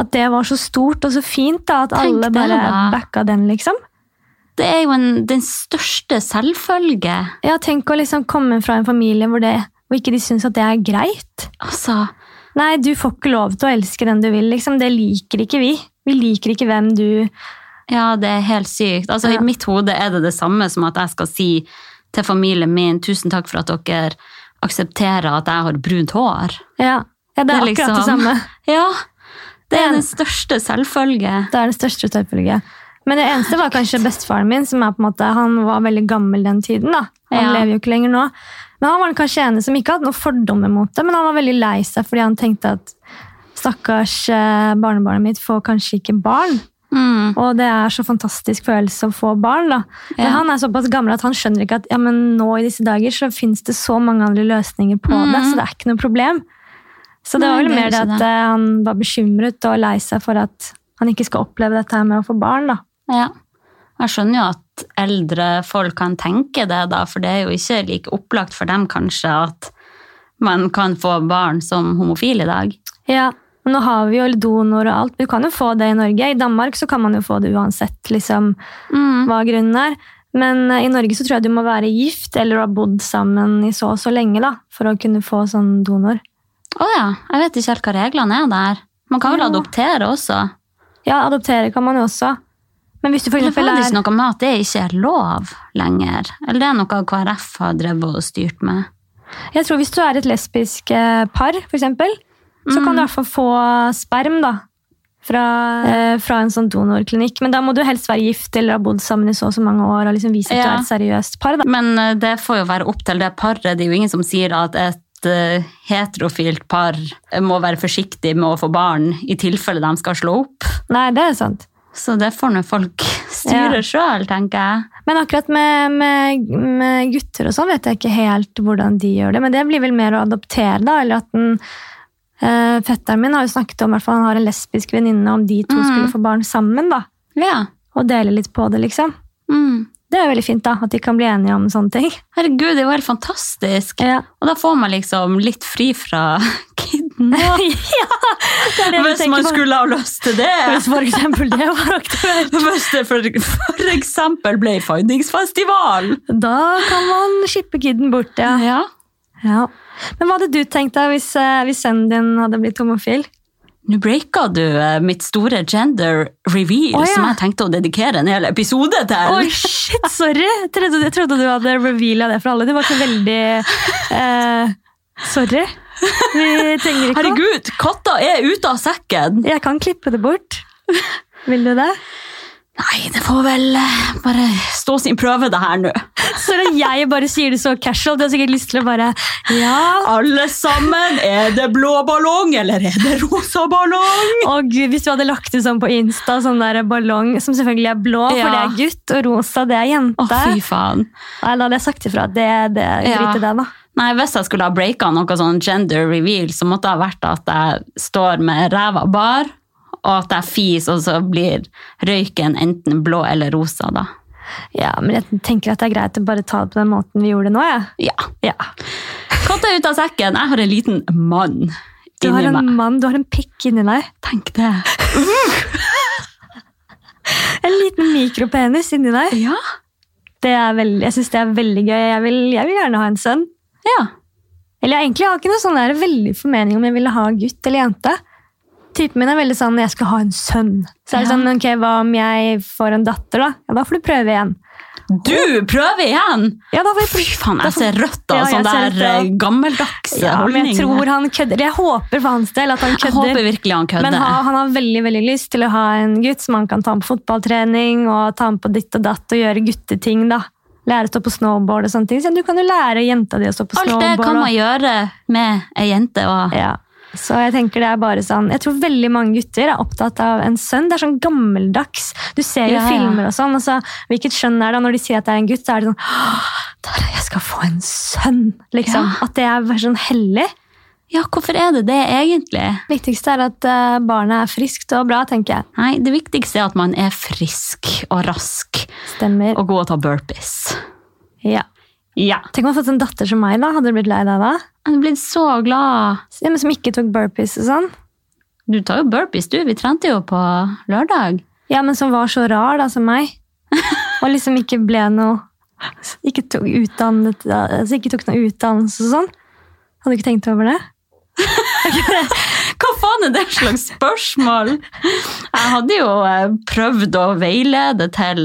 Speaker 1: at det var så stort og så fint, da, at
Speaker 2: Tenk
Speaker 1: alle
Speaker 2: det,
Speaker 1: bare
Speaker 2: da.
Speaker 1: backa den, liksom.
Speaker 2: Det er jo en, den største selvfølge.
Speaker 1: Ja, tenk å liksom komme fra en familie hvor, det, hvor ikke de syns at det er greit.
Speaker 2: Altså,
Speaker 1: Nei, du får ikke lov til å elske den du vil, liksom. Det liker ikke vi. Vi liker ikke hvem du
Speaker 2: ja, det er helt sykt. Altså,
Speaker 1: Ja.
Speaker 2: I mitt hode er det det samme som at jeg skal si til familien min tusen takk for at dere aksepterer at jeg har brunt hår.
Speaker 1: Ja, ja det er akkurat det
Speaker 2: liksom-
Speaker 1: samme.
Speaker 2: Ja, det
Speaker 1: Det-
Speaker 2: er den største selvfølge.
Speaker 1: Det er den største selvfølge. Men det eneste var kanskje bestefaren min, som er på en måte, han var veldig gammel den tiden. da. Han
Speaker 2: Ja.
Speaker 1: lever jo ikke lenger nå. Men han var kanskje ene som ikke hadde noen fordommer mot det, men han var veldig lei seg fordi han tenkte at stakkars eh, barnebarnet mitt får kanskje ikke barn.
Speaker 2: Mm.
Speaker 1: Og det er så fantastisk følelse å få barn. da. Men
Speaker 2: Ja.
Speaker 1: han er såpass gammel at han skjønner ikke at ja, men nå i disse dager så finnes det så mange andre løsninger på det, så det er ikke noe problem. Så det
Speaker 2: Mm. Nei,
Speaker 1: var vel
Speaker 2: det er
Speaker 1: mer det
Speaker 2: ikke
Speaker 1: at
Speaker 2: det.
Speaker 1: eh, han var bekymret og lei seg for at han ikke skal oppleve dette her med å få barn. da.
Speaker 2: Ja. Jeg skjønner jo at eldre folk kan tenke det, da, for det er jo ikke like opplagt for dem kanskje at man kan få barn som homofil i dag.
Speaker 1: Ja, men Nå har vi jo donor og alt. Du kan jo få det i Norge. I Danmark så kan man jo få det uansett liksom,
Speaker 2: Mm.
Speaker 1: hva grunnen er. Men eh, i Norge så tror jeg du må være gift eller ha bodd sammen i så og så lenge da, for å kunne få sånn donor.
Speaker 2: Å ja, jeg vet ikke helt hva reglene er der. Man kan vel
Speaker 1: Ja.
Speaker 2: adoptere også?
Speaker 1: Ja, adoptere kan man jo også. Men hvis du for
Speaker 2: Eller
Speaker 1: eksempel
Speaker 2: var det
Speaker 1: er
Speaker 2: ikke noe med at det ikke er lov lenger? Eller det er noe KrF har drevet og styrt med?
Speaker 1: Jeg tror hvis du er et lesbisk eh, par, for eksempel, så kan du i hvert fall få sperm, da. Fra, eh, fra en sånn donorklinikk. Men da må du helst være gift eller ha bodd sammen i så og så mange år og liksom vise at du
Speaker 2: Ja.
Speaker 1: er et seriøst par. da.
Speaker 2: Men eh, det får jo være opp til det paret. Det er jo ingen som sier at et eh, heterofilt par må være forsiktig med å få barn i tilfelle de skal slå opp.
Speaker 1: Nei, det er sant.
Speaker 2: Så det får nå folk styre
Speaker 1: Ja.
Speaker 2: sjøl, tenker jeg.
Speaker 1: Men akkurat med, med, med gutter og sånn vet jeg ikke helt hvordan de gjør det. Men det blir vel mer å adoptere, da. Eller at den, eh, fetteren min har jo snakket om, i hvert fall han har en lesbisk venninne, om de to
Speaker 2: Mhm.
Speaker 1: skulle få barn sammen, da.
Speaker 2: Ja.
Speaker 1: Og dele litt på det, liksom.
Speaker 2: Mm.
Speaker 1: Det er veldig fint, da. At de kan bli enige om sånne ting.
Speaker 2: Herregud, det er jo helt fantastisk.
Speaker 1: Ja.
Speaker 2: Og da får man liksom litt fri fra kiden.
Speaker 1: Det er det vi
Speaker 2: Hvis
Speaker 1: tenker
Speaker 2: man
Speaker 1: på.
Speaker 2: skulle ha lyst til det.
Speaker 1: Hvis for eksempel det var aktuelt.
Speaker 2: Hvis det for, for eksempel ble Findingsfestival.
Speaker 1: Da kan man shippe kiden bort, ja.
Speaker 2: Ja.
Speaker 1: ja. Men hva hadde du tenkt deg hvis, eh, hvis sønnen din hadde blitt homofil?
Speaker 2: Nå breaka du eh, mitt store gender reveal,
Speaker 1: Å, ja.
Speaker 2: som jeg tenkte å dedikere en hel episode til.
Speaker 1: Oi, shit, sorry! Jeg trodde, jeg trodde du hadde reveala det for alle. Du var ikke veldig eh, Sorry. Vi trenger ikke å
Speaker 2: Herregud, katta er ute av sekken!
Speaker 1: Jeg kan klippe det bort. Vil du det?
Speaker 2: Nei, det får vel eh, bare stå sin prøve, det her nå.
Speaker 1: Sorry, jeg bare sier det så casual. Du har sikkert lyst til å bare Ja.
Speaker 2: Alle sammen, er det blå ballong, eller er det rosa ballong?
Speaker 1: Å Gud, Hvis du hadde lagt ut sånn på Insta, sånn der ballong som selvfølgelig er blå, for det
Speaker 2: Ja.
Speaker 1: er gutt, og rosa, det er jente
Speaker 2: Å, fy faen.
Speaker 1: Nei, Da hadde jeg sagt ifra. Det, det,
Speaker 2: Ja.
Speaker 1: Drit i det, da.
Speaker 2: Nei, Hvis jeg skulle ha breaka noe sånn gender reveal, så måtte det ha vært at jeg står med ræva bar, og at jeg fiser, og så blir røyken enten blå eller rosa, da.
Speaker 1: Ja, men jeg tenker at det er greit å bare ta det på den måten vi gjorde det nå, jeg.
Speaker 2: Ja.
Speaker 1: Ja.
Speaker 2: Katta er ute av sekken. Jeg har en liten mann
Speaker 1: Du har
Speaker 2: inni meg.
Speaker 1: en mann, du har en pikk inni deg.
Speaker 2: Tenk det.
Speaker 1: En liten mikropenis inni deg.
Speaker 2: Ja.
Speaker 1: Det er veldig, jeg syns det er veldig gøy. Jeg vil, jeg vil gjerne ha en sønn.
Speaker 2: ja.
Speaker 1: Eller jeg egentlig har ikke noe sånn der veldig formening om jeg ville ha gutt eller jente. Typen min er veldig sånn 'jeg skal ha en sønn'. Så er det
Speaker 2: Ja.
Speaker 1: sånn, ok, Hva om jeg får en datter, da? Ja, Da får du prøve igjen.
Speaker 2: Du prøver igjen!
Speaker 1: Ja, da får jeg
Speaker 2: Fy
Speaker 1: prøve.
Speaker 2: faen, jeg ser rødt
Speaker 1: Ja,
Speaker 2: av
Speaker 1: jeg
Speaker 2: sånn
Speaker 1: ser
Speaker 2: der
Speaker 1: rødt,
Speaker 2: eh, gammeldagse
Speaker 1: Ja, men jeg
Speaker 2: holdninger.
Speaker 1: tror han kødder. Jeg håper for hans del at han
Speaker 2: Jeg håper
Speaker 1: kødder.
Speaker 2: virkelig han kødder.
Speaker 1: Men ha, han har veldig veldig lyst til å ha en gutt som han kan ta med på fotballtrening og ta med på ditt og datt og gjøre gutteting. da. Lære å stå på snowboard og sånne ting. Så du kan jo lære jenta di å stå på
Speaker 2: Alt
Speaker 1: snowboard.
Speaker 2: det kan
Speaker 1: og-
Speaker 2: man gjøre med ei jente. Og,
Speaker 1: Ja. Så jeg tenker det er bare sånn Jeg tror veldig mange gutter er opptatt av en sønn. Det er sånn gammeldags. Du ser jo
Speaker 2: Ja, ja.
Speaker 1: filmer og sånn. og så, hvilket skjønn er det? Og når de sier at det er en gutt, så er det sånn «Åh, Tara, jeg skal få en sønn! Liksom.
Speaker 2: Ja.
Speaker 1: At det er bare sånn hellig.
Speaker 2: ja, hvorfor er det det egentlig?
Speaker 1: Viktigste er at eh, barnet er friskt og bra, tenker jeg.
Speaker 2: Nei, Det viktigste er at man er frisk og rask
Speaker 1: Stemmer.
Speaker 2: og god til å ta burpees.
Speaker 1: Ja.
Speaker 2: Ja.
Speaker 1: Tenk om man hadde fått en datter som meg, da. Hadde du blitt lei deg da?
Speaker 2: Jeg er blitt så glad.
Speaker 1: Ja, men Som ikke tok burpees og sånn.
Speaker 2: Du tar jo burpees, du. Vi trente jo på lørdag.
Speaker 1: Ja, men som var så rar da, som meg. Og liksom ikke ble noe Ikke tok, utdannet, altså ikke tok noe utdannelse og sånn. Hadde du ikke tenkt over det?
Speaker 2: Hva faen er det slags spørsmål? Jeg hadde jo eh, prøvd å veilede til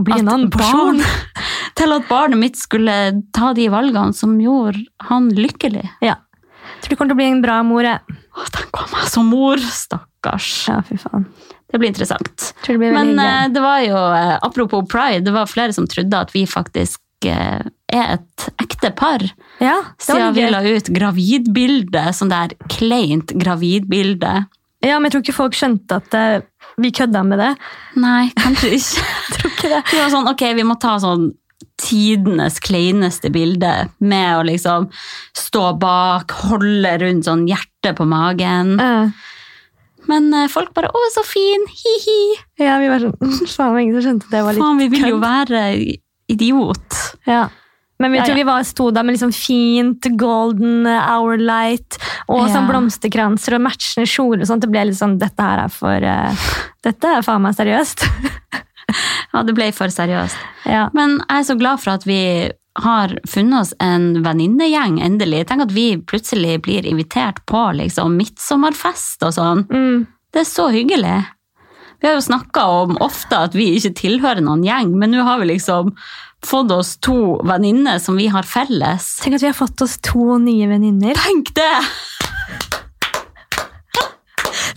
Speaker 1: Å bli
Speaker 2: at
Speaker 1: en annen person.
Speaker 2: barn- Til at barnet mitt skulle ta de valgene som gjorde han lykkelig.
Speaker 1: Ja. Tror du kommer til å bli en bra mor. jeg.
Speaker 2: Å, tenk på meg som mor, stakkars.
Speaker 1: Ja, fy faen.
Speaker 2: Det blir interessant.
Speaker 1: Tror det blir veldig
Speaker 2: Men
Speaker 1: hyggelig.
Speaker 2: eh, det var jo, eh, apropos pride, det var flere som trodde at vi faktisk eh, er et ekte par.
Speaker 1: Ja, det var
Speaker 2: Siden vi
Speaker 1: litt gøy.
Speaker 2: la ut gravidbilde, sånn der kleint gravidbilde.
Speaker 1: Ja, men jeg tror ikke folk skjønte at eh, vi kødda med det.
Speaker 2: Nei, kanskje ikke.
Speaker 1: Tror ikke det.
Speaker 2: Vi var sånn, ok, vi må ta sånn tidenes kleineste bilde med å liksom stå bak, holde rundt sånn hjertet på magen.
Speaker 1: Eh,
Speaker 2: Men eh, folk bare, å, så fin, hi-hi.
Speaker 1: ja, vi var sånn mm, Faen, ingen som skjønte at det var litt
Speaker 2: Faen, vi vil jo
Speaker 1: kødd.
Speaker 2: være idiot.
Speaker 1: Ja. Men vi
Speaker 2: Ja,
Speaker 1: tror
Speaker 2: ja.
Speaker 1: vi var, sto der med liksom fint golden eh, hour light og
Speaker 2: Ja.
Speaker 1: sånn blomsterkranser og matchende kjoler. og sånt. Det ble litt sånn Dette her er for eh, Dette er faen meg seriøst.
Speaker 2: Ja, det ble for seriøst.
Speaker 1: ja.
Speaker 2: Men jeg er så glad for at vi har funnet oss en venninnegjeng endelig. Tenk at vi plutselig blir invitert på liksom midtsommerfest og sånn.
Speaker 1: Mm.
Speaker 2: Det er så hyggelig. Vi har jo snakka om ofte at vi ikke tilhører noen gjeng, men nå har vi liksom fått oss to venninner som vi har felles.
Speaker 1: Tenk at vi har fått oss to nye venninner.
Speaker 2: Tenk det!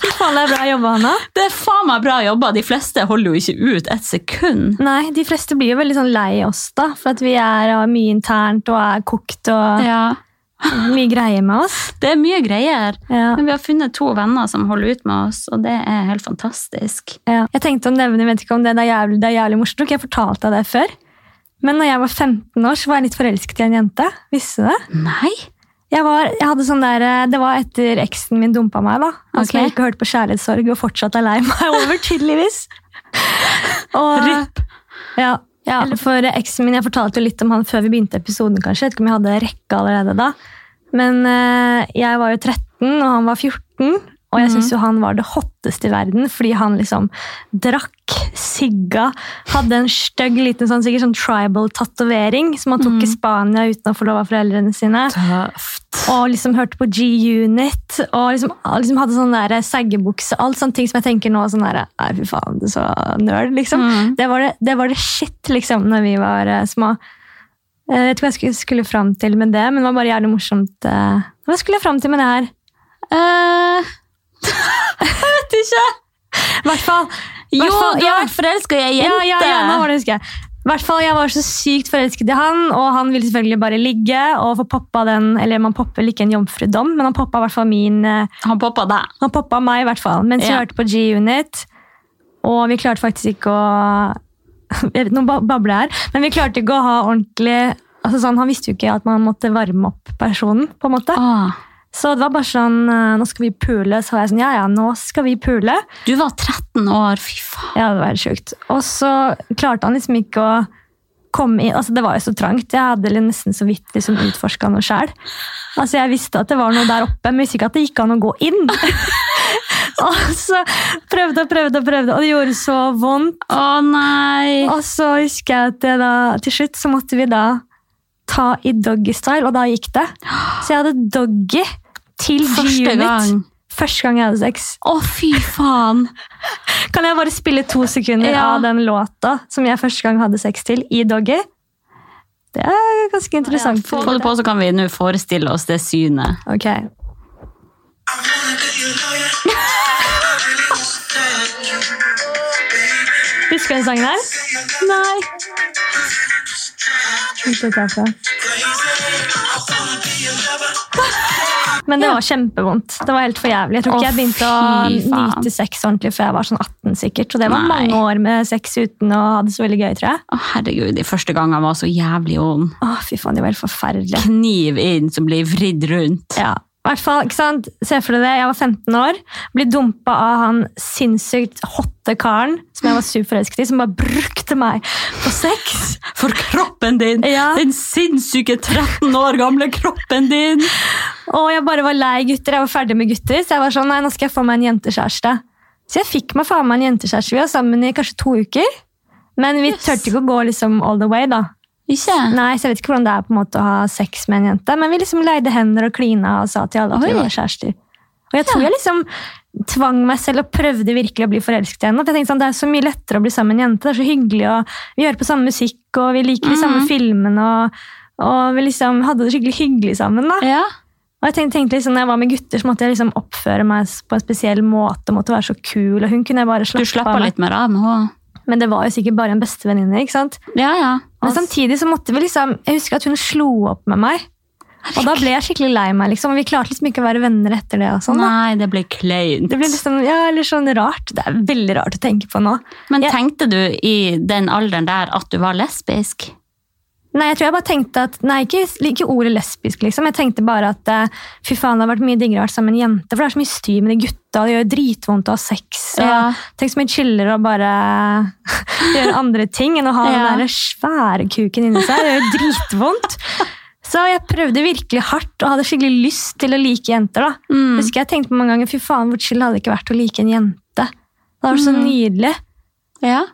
Speaker 1: Fy faen, det er bra jobba, Hanna.
Speaker 2: Det er faen meg bra jobba. De fleste holder jo ikke ut et sekund.
Speaker 1: Nei, De fleste blir jo veldig sånn lei oss, da, for at vi er og har mye internt og er kokt og
Speaker 2: Ja.
Speaker 1: mye greier med oss.
Speaker 2: Det er mye greier.
Speaker 1: Ja.
Speaker 2: Men vi har funnet to venner som holder ut med oss, og det er helt fantastisk.
Speaker 1: Ja. Jeg tenkte å nevne, jeg vet ikke om det, det er jævlig, det er jævlig morsomt. Tror ikke jeg fortalte deg det før. Men når jeg var 15 år, så var jeg litt forelsket i en jente. Visste du det?
Speaker 2: Nei?
Speaker 1: Jeg var, jeg hadde sånn der, eh, det var etter eksen min dumpa meg, da. Han som
Speaker 2: Ok.
Speaker 1: jeg ikke hørte på kjærlighetssorg og fortsatt er lei meg over, tydeligvis. Og,
Speaker 2: Rypp.
Speaker 1: Ja, ja. Eller for eksen min, jeg fortalte jo litt om han før vi begynte episoden, kanskje. Jeg vet ikke om jeg hadde rekke allerede da. Men eh, jeg var jo 13, og han var 14. Og jeg syns jo han var det hotteste i verden, fordi han liksom drakk, sigga, hadde en stygg liten sånn, sikkert sånn tribal-tatovering som han tok i Spania uten å få lov av foreldrene sine.
Speaker 2: Tøft.
Speaker 1: Og liksom hørte på G-Unit og liksom, liksom hadde sånn der seggebukse. Alt sånne ting som jeg tenker nå sånn der, Nei, fy faen, du er så nerd, liksom.
Speaker 2: Mm.
Speaker 1: Det, var det, det var det shit, liksom, når vi var eh, små. Eh, Jeg tror jeg skulle, skulle fram til med det, men det var bare jævlig morsomt. eh. Hva skulle jeg fram til med det her?
Speaker 2: Eh, jeg vet ikke.
Speaker 1: I hvert fall
Speaker 2: Jo,
Speaker 1: hvert fall-
Speaker 2: du har vært eh. forelska i ei
Speaker 1: Ja,
Speaker 2: jente.
Speaker 1: ja, ja, nå var det husker jeg. I hvert fall, Jeg var så sykt forelsket i han, og han ville selvfølgelig bare ligge. og få poppa den, eller Man popper vel ikke en jomfrudom, men han poppa i hvert fall min eh,
Speaker 2: Han poppa deg.
Speaker 1: Han poppa meg i hvert fall, mens vi
Speaker 2: Ja.
Speaker 1: hørte på G-Unit. Og vi klarte faktisk ikke å Jeg vet, Nå ba- babler jeg her, men vi klarte ikke å ha ordentlig altså sånn, Han visste jo ikke at man måtte varme opp personen. på en måte.
Speaker 2: Ah.
Speaker 1: Så det var bare sånn eh, Nå skal vi pule. Så var jeg sånn Ja, ja, nå skal vi pule.
Speaker 2: Du var 13 år, fy faen.
Speaker 1: Ja, det var helt sjukt. Og så klarte han liksom ikke å komme inn. Altså, det var jo så trangt. Jeg hadde liksom nesten så vidt liksom utforska noe sjæl. Altså, jeg visste at det var noe der oppe, men visste ikke at det gikk an å gå inn. og så prøvde og prøvde og prøvde, og det gjorde så vondt.
Speaker 2: Å nei!
Speaker 1: Og så husker jeg at det da, til slutt så måtte vi da ta i doggystyle, og da gikk det. Så jeg hadde doggy til
Speaker 2: Første
Speaker 1: G-unit.
Speaker 2: gang.
Speaker 1: Første gang jeg hadde sex.
Speaker 2: Å, fy faen!
Speaker 1: Kan jeg bare spille to sekunder
Speaker 2: Ja.
Speaker 1: av den låta som jeg første gang hadde sex til, i Doggy? Det er ganske interessant.
Speaker 2: Få det på, så kan vi nå forestille oss det synet.
Speaker 1: Ok.
Speaker 3: I'm gonna let you know that I really understand you, baby.
Speaker 1: Husker du den sangen her? Nei. Ikke vet jeg fra.
Speaker 3: Crazy. I wanna be your lover.
Speaker 1: Men det var kjempevondt. Det var helt for jævlig. Jeg tror
Speaker 2: Å,
Speaker 1: ikke jeg begynte
Speaker 2: fy
Speaker 1: å
Speaker 2: faen.
Speaker 1: nyte sex ordentlig før jeg var sånn 18 sikkert. Så det var
Speaker 2: Nei.
Speaker 1: mange år med sex uten å ha det så veldig gøy, tror jeg.
Speaker 2: Å, herregud, de første gangene var så jævlig vond.
Speaker 1: Å, fy faen, de var helt forferdelige.
Speaker 2: Kniv inn som blir vridd rundt.
Speaker 1: Ja. I hvert fall, ikke sant? Se for deg det, jeg var 15 år, ble dumpa av han sinnssykt hotte karen som jeg var superforelsket i, som bare brukte meg på sex.
Speaker 2: For kroppen din!
Speaker 1: Ja.
Speaker 2: Den sinnssyke 13 år gamle kroppen din!
Speaker 1: Og jeg bare var lei gutter, jeg var ferdig med gutter, så jeg var sånn, nei, nå skal jeg få meg en jentekjæreste. Så jeg fikk meg faen meg en jentekjæreste, vi var sammen i kanskje to uker. Men vi
Speaker 2: Yes.
Speaker 1: tørte ikke å gå liksom all the way, da.
Speaker 2: Ikke?
Speaker 1: Nei, så jeg vet ikke hvordan det er på en måte å ha sex med en jente, men vi liksom leide hender og klina og sa til alle at vi
Speaker 2: Oi.
Speaker 1: var kjærester. Og jeg tror jeg liksom tvang meg selv og prøvde virkelig å bli forelsket i henne. For jeg tenkte sånn, Det er så mye lettere å bli sammen med en jente. Det er så hyggelig, og vi hører på samme musikk, og vi liker de
Speaker 2: Mm.
Speaker 1: samme filmene. Og, og vi liksom hadde det skikkelig hyggelig sammen. da.
Speaker 2: Ja.
Speaker 1: Og jeg tenkte, tenkte liksom, Når jeg var med gutter, så måtte jeg liksom oppføre meg på en spesiell måte. måtte være så kul, og hun kunne jeg bare
Speaker 2: Du
Speaker 1: slappe
Speaker 2: slappa
Speaker 1: av med.
Speaker 2: litt mer av med henne.
Speaker 1: Men det var jo sikkert bare en bestevenninne. ikke sant?
Speaker 2: Ja, ja.
Speaker 1: Men
Speaker 2: Altså,
Speaker 1: samtidig så måtte vi liksom Jeg husker at hun slo opp med meg. Og da ble jeg skikkelig lei meg. liksom, og Vi klarte liksom ikke å være venner etter det. og sånn da.
Speaker 2: Altså, Nei, det blir kleint.
Speaker 1: Det ble liksom, ja, eller sånn rart. Det er veldig rart å tenke på nå.
Speaker 2: Men
Speaker 1: Jeg-
Speaker 2: tenkte du i den alderen der at du var lesbisk?
Speaker 1: Nei, jeg tror jeg bare tenkte at, nei, ikke, ikke ordet lesbisk, liksom. Jeg tenkte bare at eh, fy faen, det har vært mye diggere å være sammen med en jente. For det er så mye styr med de gutta, og det gjør dritvondt å ha sex. Og
Speaker 2: Ja.
Speaker 1: Tenk så mye chillere å bare gjøre andre ting enn å ha
Speaker 2: Ja.
Speaker 1: den der svære kuken inni seg. Det gjør jo dritvondt. Så jeg prøvde virkelig hardt og hadde skikkelig lyst til å like jenter. da.
Speaker 2: Mm.
Speaker 1: Husker jeg tenkte på mange ganger fy faen, hvor chill hadde det ikke vært å like en jente. Det var så
Speaker 2: Mm.
Speaker 1: nydelig.
Speaker 2: Ja.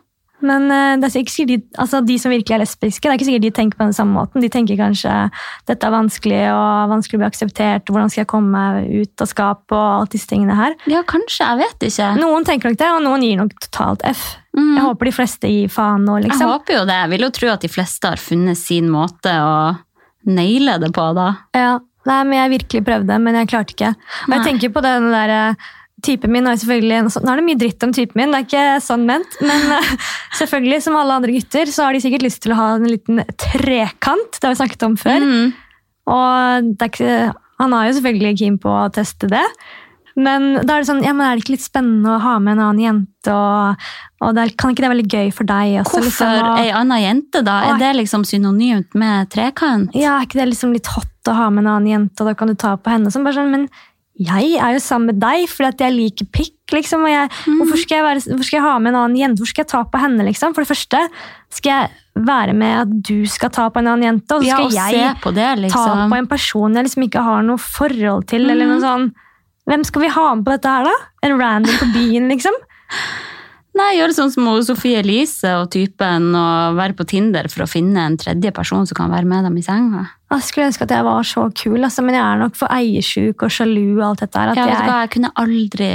Speaker 1: Men eh, det er ikke sikkert de, altså de som virkelig er lesbiske, det er ikke sikkert de tenker på den samme måten. De tenker kanskje dette er vanskelig og vanskelig å bli akseptert, hvordan skal jeg komme meg ut av skapet og alt disse tingene her.
Speaker 2: ja, kanskje. Jeg vet ikke.
Speaker 1: Noen tenker nok det, og noen gir nok totalt F.
Speaker 2: Mm.
Speaker 1: Jeg håper de fleste gir faen nå,
Speaker 2: Jeg
Speaker 1: liksom.
Speaker 2: håper jo det. Jeg vil jo tro at de fleste har funnet sin måte å naile det på, da.
Speaker 1: Ja, nei, men jeg virkelig prøvde, men jeg klarte ikke. Og jeg
Speaker 2: Nei.
Speaker 1: tenker på den der eh, typen min, og selvfølgelig, nå er det mye dritt om typen min, det er ikke sånn ment, men eh, selvfølgelig, som alle andre gutter, så har de sikkert lyst til å ha en liten trekant, det har vi snakket om før.
Speaker 2: Mm.
Speaker 1: Og det er ikke, han er jo selvfølgelig keen på å teste det. Men da er det sånn, ja, men er det ikke litt spennende å ha med en annen jente? Og, og det er, kan ikke det være litt gøy for deg? Også,
Speaker 2: Hvorfor
Speaker 1: liksom, og,
Speaker 2: ei anna jente, da?
Speaker 1: Oi.
Speaker 2: Er det liksom synonymt med trekant?
Speaker 1: ja, er ikke det liksom litt hot å ha med en annen jente, og da kan du ta på henne? Sånn, bare sånn, men jeg er jo sammen med deg fordi at jeg liker pikk. Liksom, og jeg,
Speaker 2: Mm.
Speaker 1: hvorfor, skal jeg være, hvorfor skal jeg ha med en annen jente? Hvor skal jeg ta på henne? Liksom? For det første skal jeg være med at du skal ta på en annen jente, og så
Speaker 2: Ja,
Speaker 1: skal
Speaker 2: å se
Speaker 1: jeg
Speaker 2: på det,
Speaker 1: ta
Speaker 2: liksom. Mhm.
Speaker 1: på en person jeg liksom ikke har noe forhold til, eller noe sånn Hvem skal vi ha med på dette her, da? En random på byen, liksom?
Speaker 2: Nei, gjøre sånn som hun Sofie Elise og typen, og være på Tinder for å finne en tredje person som kan være med dem i senga.
Speaker 1: Jeg skulle ønske at jeg var så kul, altså, men jeg er nok for eiersjuk og sjalu og alt dette her. At
Speaker 2: Ja, vet du
Speaker 1: jeg,
Speaker 2: hva, jeg kunne aldri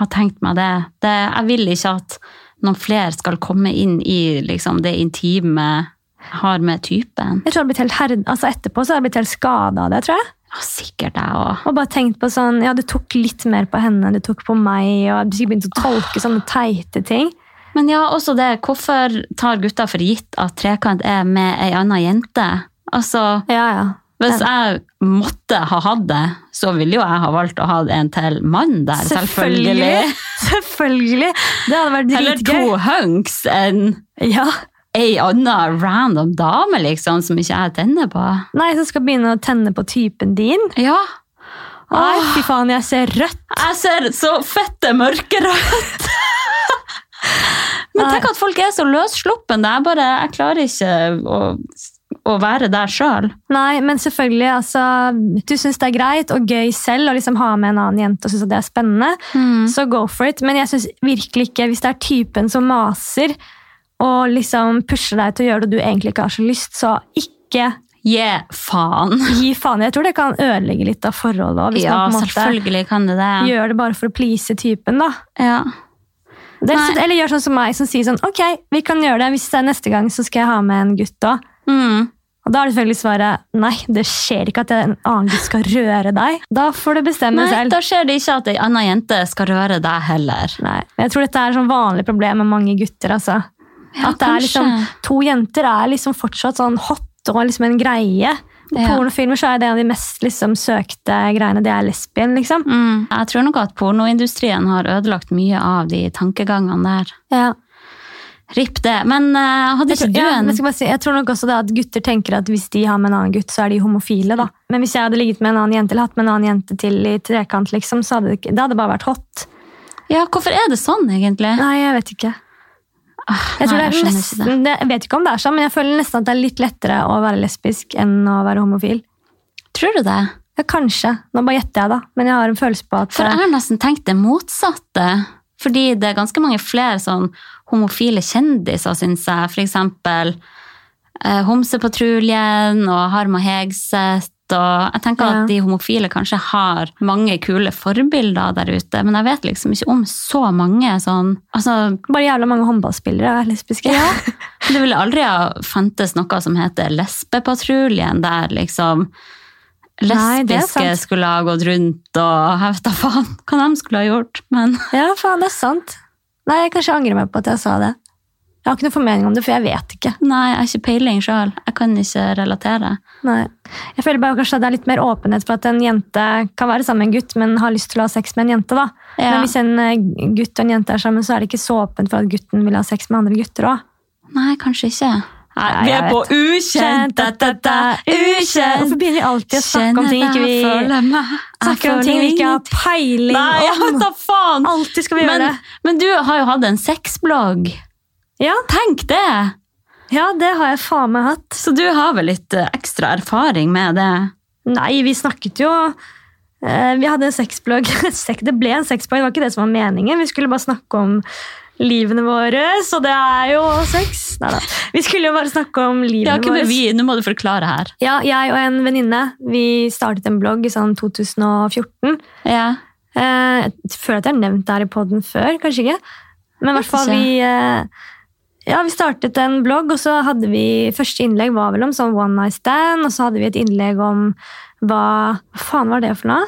Speaker 2: ha tenkt meg det. det jeg vil ikke at noen flere skal komme inn i liksom, det intime jeg har med typen.
Speaker 1: jeg tror jeg har blitt helt herd, altså Etterpå så har jeg blitt helt skada av det, tror jeg.
Speaker 2: Ja, sikkert jeg òg.
Speaker 1: Og bare tenkt på sånn Ja, du tok litt mer på henne enn du tok på meg, og du sikkert begynte å tolke sånne teite ting.
Speaker 2: Men ja, også det. Hvorfor tar gutta for gitt at trekant er med ei anna jente? Altså,
Speaker 1: Ja, ja.
Speaker 2: hvis jeg måtte ha hatt det, så ville jo jeg ha valgt å ha en til mann der, selvfølgelig.
Speaker 1: Selvfølgelig! Det hadde vært
Speaker 2: Eller
Speaker 1: dritgøy.
Speaker 2: to hunks enn
Speaker 1: Ja.
Speaker 2: ei anna random dame, liksom, som ikke jeg tenner på.
Speaker 1: Nei, som skal begynne å tenne på typen din.
Speaker 2: Ja.
Speaker 1: Nei, fy faen, jeg ser rødt.
Speaker 2: Jeg ser så fette mørkerødt! Men tenk at folk er så løssluppen. Jeg bare, jeg klarer ikke å, å være der sjøl.
Speaker 1: Nei, men selvfølgelig, altså, du syns det er greit og gøy selv å liksom ha med en annen jente og synes at det er spennende,
Speaker 2: Mm.
Speaker 1: så go for it. Men jeg syns virkelig ikke, hvis det er typen som maser og liksom pusher deg til å gjøre det du egentlig ikke har så lyst, så ikke
Speaker 2: Gi faen!
Speaker 1: gi faen. Jeg tror det kan ødelegge litt av forholdet òg, hvis
Speaker 2: Ja,
Speaker 1: man på en måte
Speaker 2: selvfølgelig kan det det.
Speaker 1: gjør det bare for å please typen, da.
Speaker 2: Ja.
Speaker 1: Det, er-
Speaker 2: Nei.
Speaker 1: eller gjør sånn som meg, som sier sånn Ok, vi kan gjøre det. Hvis det er neste gang, så skal jeg ha med en gutt òg.
Speaker 2: Mm.
Speaker 1: Og da er det selvfølgelig svaret nei, det skjer ikke at en annen gutt skal røre deg. Da får du bestemme
Speaker 2: Nei,
Speaker 1: selv.
Speaker 2: da skjer det ikke at ei anna jente skal røre deg heller.
Speaker 1: Nei, men Jeg tror dette er et sånn vanlig problem med mange gutter. altså.
Speaker 2: Ja,
Speaker 1: at det er liksom,
Speaker 2: kanskje.
Speaker 1: To jenter er liksom fortsatt sånn hot og liksom en greie. På
Speaker 2: Ja.
Speaker 1: pornofilmer så er det en av de mest liksom, søkte greiene. Det er lesbien, liksom.
Speaker 2: Mm. Jeg tror nok at pornoindustrien har ødelagt mye av de tankegangene der.
Speaker 1: Ja.
Speaker 2: Ripp det. Men eh, hadde
Speaker 1: Jeg,
Speaker 2: ikke
Speaker 1: tror,
Speaker 2: du
Speaker 1: ja,
Speaker 2: en
Speaker 1: jeg, skal bare si, jeg tror nok også det at gutter tenker at hvis de har med en annen gutt, så er de homofile. da. Men hvis jeg hadde ligget med en annen jente eller hatt med en annen jente til i trekant, liksom, så hadde det, ikke- det hadde bare vært hot.
Speaker 2: Ja, hvorfor er det sånn, egentlig?
Speaker 1: Nei, jeg vet ikke.
Speaker 2: Ah,
Speaker 1: Jeg, tror det
Speaker 2: nei,
Speaker 1: er
Speaker 2: skjønner ikke det.
Speaker 1: nesten, det. jeg vet ikke om det er sånn, men jeg føler nesten at det er litt lettere å være lesbisk enn å være homofil.
Speaker 2: Tror du det?
Speaker 1: Ja, kanskje. Nå bare gjetter jeg, da. Men jeg har en følelse på at eh,
Speaker 2: For jeg har nesten tenkt det motsatte. Fordi det er ganske mange flere sånn homofile kjendiser, syns jeg. For eksempel eh, Homsepatruljen og Harm og Hegseth. Og jeg tenker
Speaker 1: Ja.
Speaker 2: at de homofile kanskje har mange kule forbilder der ute, men jeg vet liksom ikke om så mange sånn Altså,
Speaker 1: bare jævla mange håndballspillere er lesbiske.
Speaker 2: Det ville aldri ha fantes noe som heter lesbepatruljen, der liksom
Speaker 1: Nei, det er
Speaker 2: lesbiske
Speaker 1: sant.
Speaker 2: skulle ha gått rundt og jeg vet da faen hva de skulle ha gjort. Men
Speaker 1: Ja, faen, det er sant. Nei, jeg kanskje angrer meg på at jeg sa det. Jeg har ikke noen formening om det, for jeg vet ikke.
Speaker 2: nei, jeg har ikke peiling sjøl. Jeg kan ikke relatere.
Speaker 1: Nei. Jeg føler bare kanskje at det er litt mer åpenhet for at en jente kan være sammen med en gutt, men har lyst til å ha sex med en jente. da.
Speaker 2: Ja.
Speaker 1: Men hvis en eh, gutt og en jente er sammen, så er det ikke så åpent for at gutten vil ha sex med andre gutter òg.
Speaker 2: Nei, kanskje ikke. Nei,
Speaker 1: Nei, jeg vet.
Speaker 2: ukjent,
Speaker 1: Hvorfor begynner vi alltid å snakke om ting
Speaker 2: Kjenner
Speaker 1: ikke
Speaker 2: jeg
Speaker 1: vi
Speaker 2: føler meg. Jeg
Speaker 1: snakker om ting vi ikke har
Speaker 2: føler
Speaker 1: peiling
Speaker 2: Nei, jeg vet
Speaker 1: om?
Speaker 2: da faen!
Speaker 1: Alltid skal vi gjøre
Speaker 2: Men,
Speaker 1: det.
Speaker 2: men du har jo hatt en sexblogg.
Speaker 1: Ja,
Speaker 2: Tenk det!
Speaker 1: ja, det har jeg faen meg hatt.
Speaker 2: Så du har vel litt eh, ekstra erfaring med det?
Speaker 1: Nei, vi snakket jo eh, Vi hadde en sexblogg. Sek- Det ble en sexblogg, det var ikke det som var meningen. Vi skulle bare snakke om livene våre, så det er jo sex. Neida. Vi skulle jo bare snakke om
Speaker 2: Det
Speaker 1: livene
Speaker 2: har ikke
Speaker 1: våre.
Speaker 2: med vi, nå må du forklare her.
Speaker 1: Ja, jeg og en venninne vi startet en blogg i sånn 2014.
Speaker 2: Ja.
Speaker 1: Eh, jeg føler at jeg har nevnt det her i podden før, kanskje ikke. Men i hvert fall
Speaker 2: ikke.
Speaker 1: vi eh, Ja, vi startet en blogg, og så hadde vi Første innlegg var vel om sånn one night stand, og så hadde vi et innlegg om hva Hva faen var det for noe?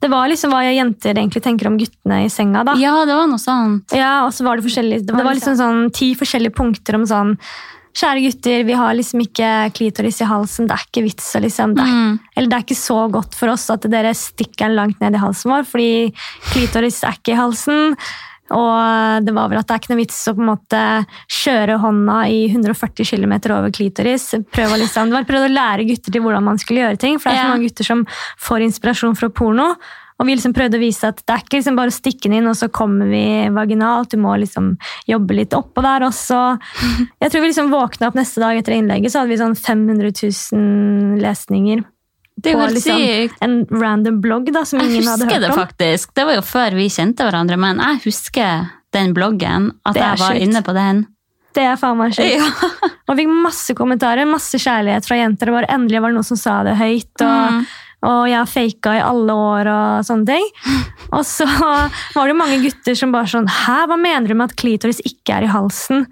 Speaker 1: Det var liksom hva jenter egentlig tenker om guttene i senga, da.
Speaker 2: ja, det var noe sånn. sånt.
Speaker 1: Ja, og så var det forskjellige Det var, liksom sånn ti forskjellige punkter om sånn Kjære gutter, vi har liksom ikke klitoris i halsen. Det er ikke vits å liksom det er,
Speaker 2: Mm.
Speaker 1: Eller det er ikke så godt for oss at dere stikker den langt ned i halsen vår, fordi klitoris er ikke i halsen. Og det var vel at det er ikke noe vits å på en måte kjøre hånda i 140 km over klitoris. Prøv å liksom, det var prøvd å lære gutter til hvordan man skulle gjøre ting, for det er så
Speaker 2: Ja.
Speaker 1: mange gutter som får inspirasjon fra porno. Og vi liksom prøvde å vise at det er ikke liksom bare å stikke den inn, og så kommer vi vaginalt. Du må liksom jobbe litt oppå der også. Jeg tror vi liksom våkna opp neste dag etter innlegget, så hadde vi sånn 500 000 lesninger.
Speaker 2: Det er jo
Speaker 1: på
Speaker 2: helt sykt.
Speaker 1: En random blogg da, som
Speaker 2: liksom- Jeg
Speaker 1: ingen hadde hørt
Speaker 2: husker det
Speaker 1: om.
Speaker 2: faktisk. Det var jo før vi kjente hverandre, men jeg husker den bloggen. At
Speaker 1: Det er
Speaker 2: jeg var
Speaker 1: sjukt.
Speaker 2: inne på den.
Speaker 1: Det er faen meg sjukt. Og fikk masse kommentarer, masse kjærlighet fra jenter. Og bare endelig var det noen som sa det høyt. Og,
Speaker 2: Mm.
Speaker 1: og jeg har faka i alle år og sånne ting. Og så var det jo mange gutter som bare sånn Hæ, hva mener du med at klitoris ikke er i halsen?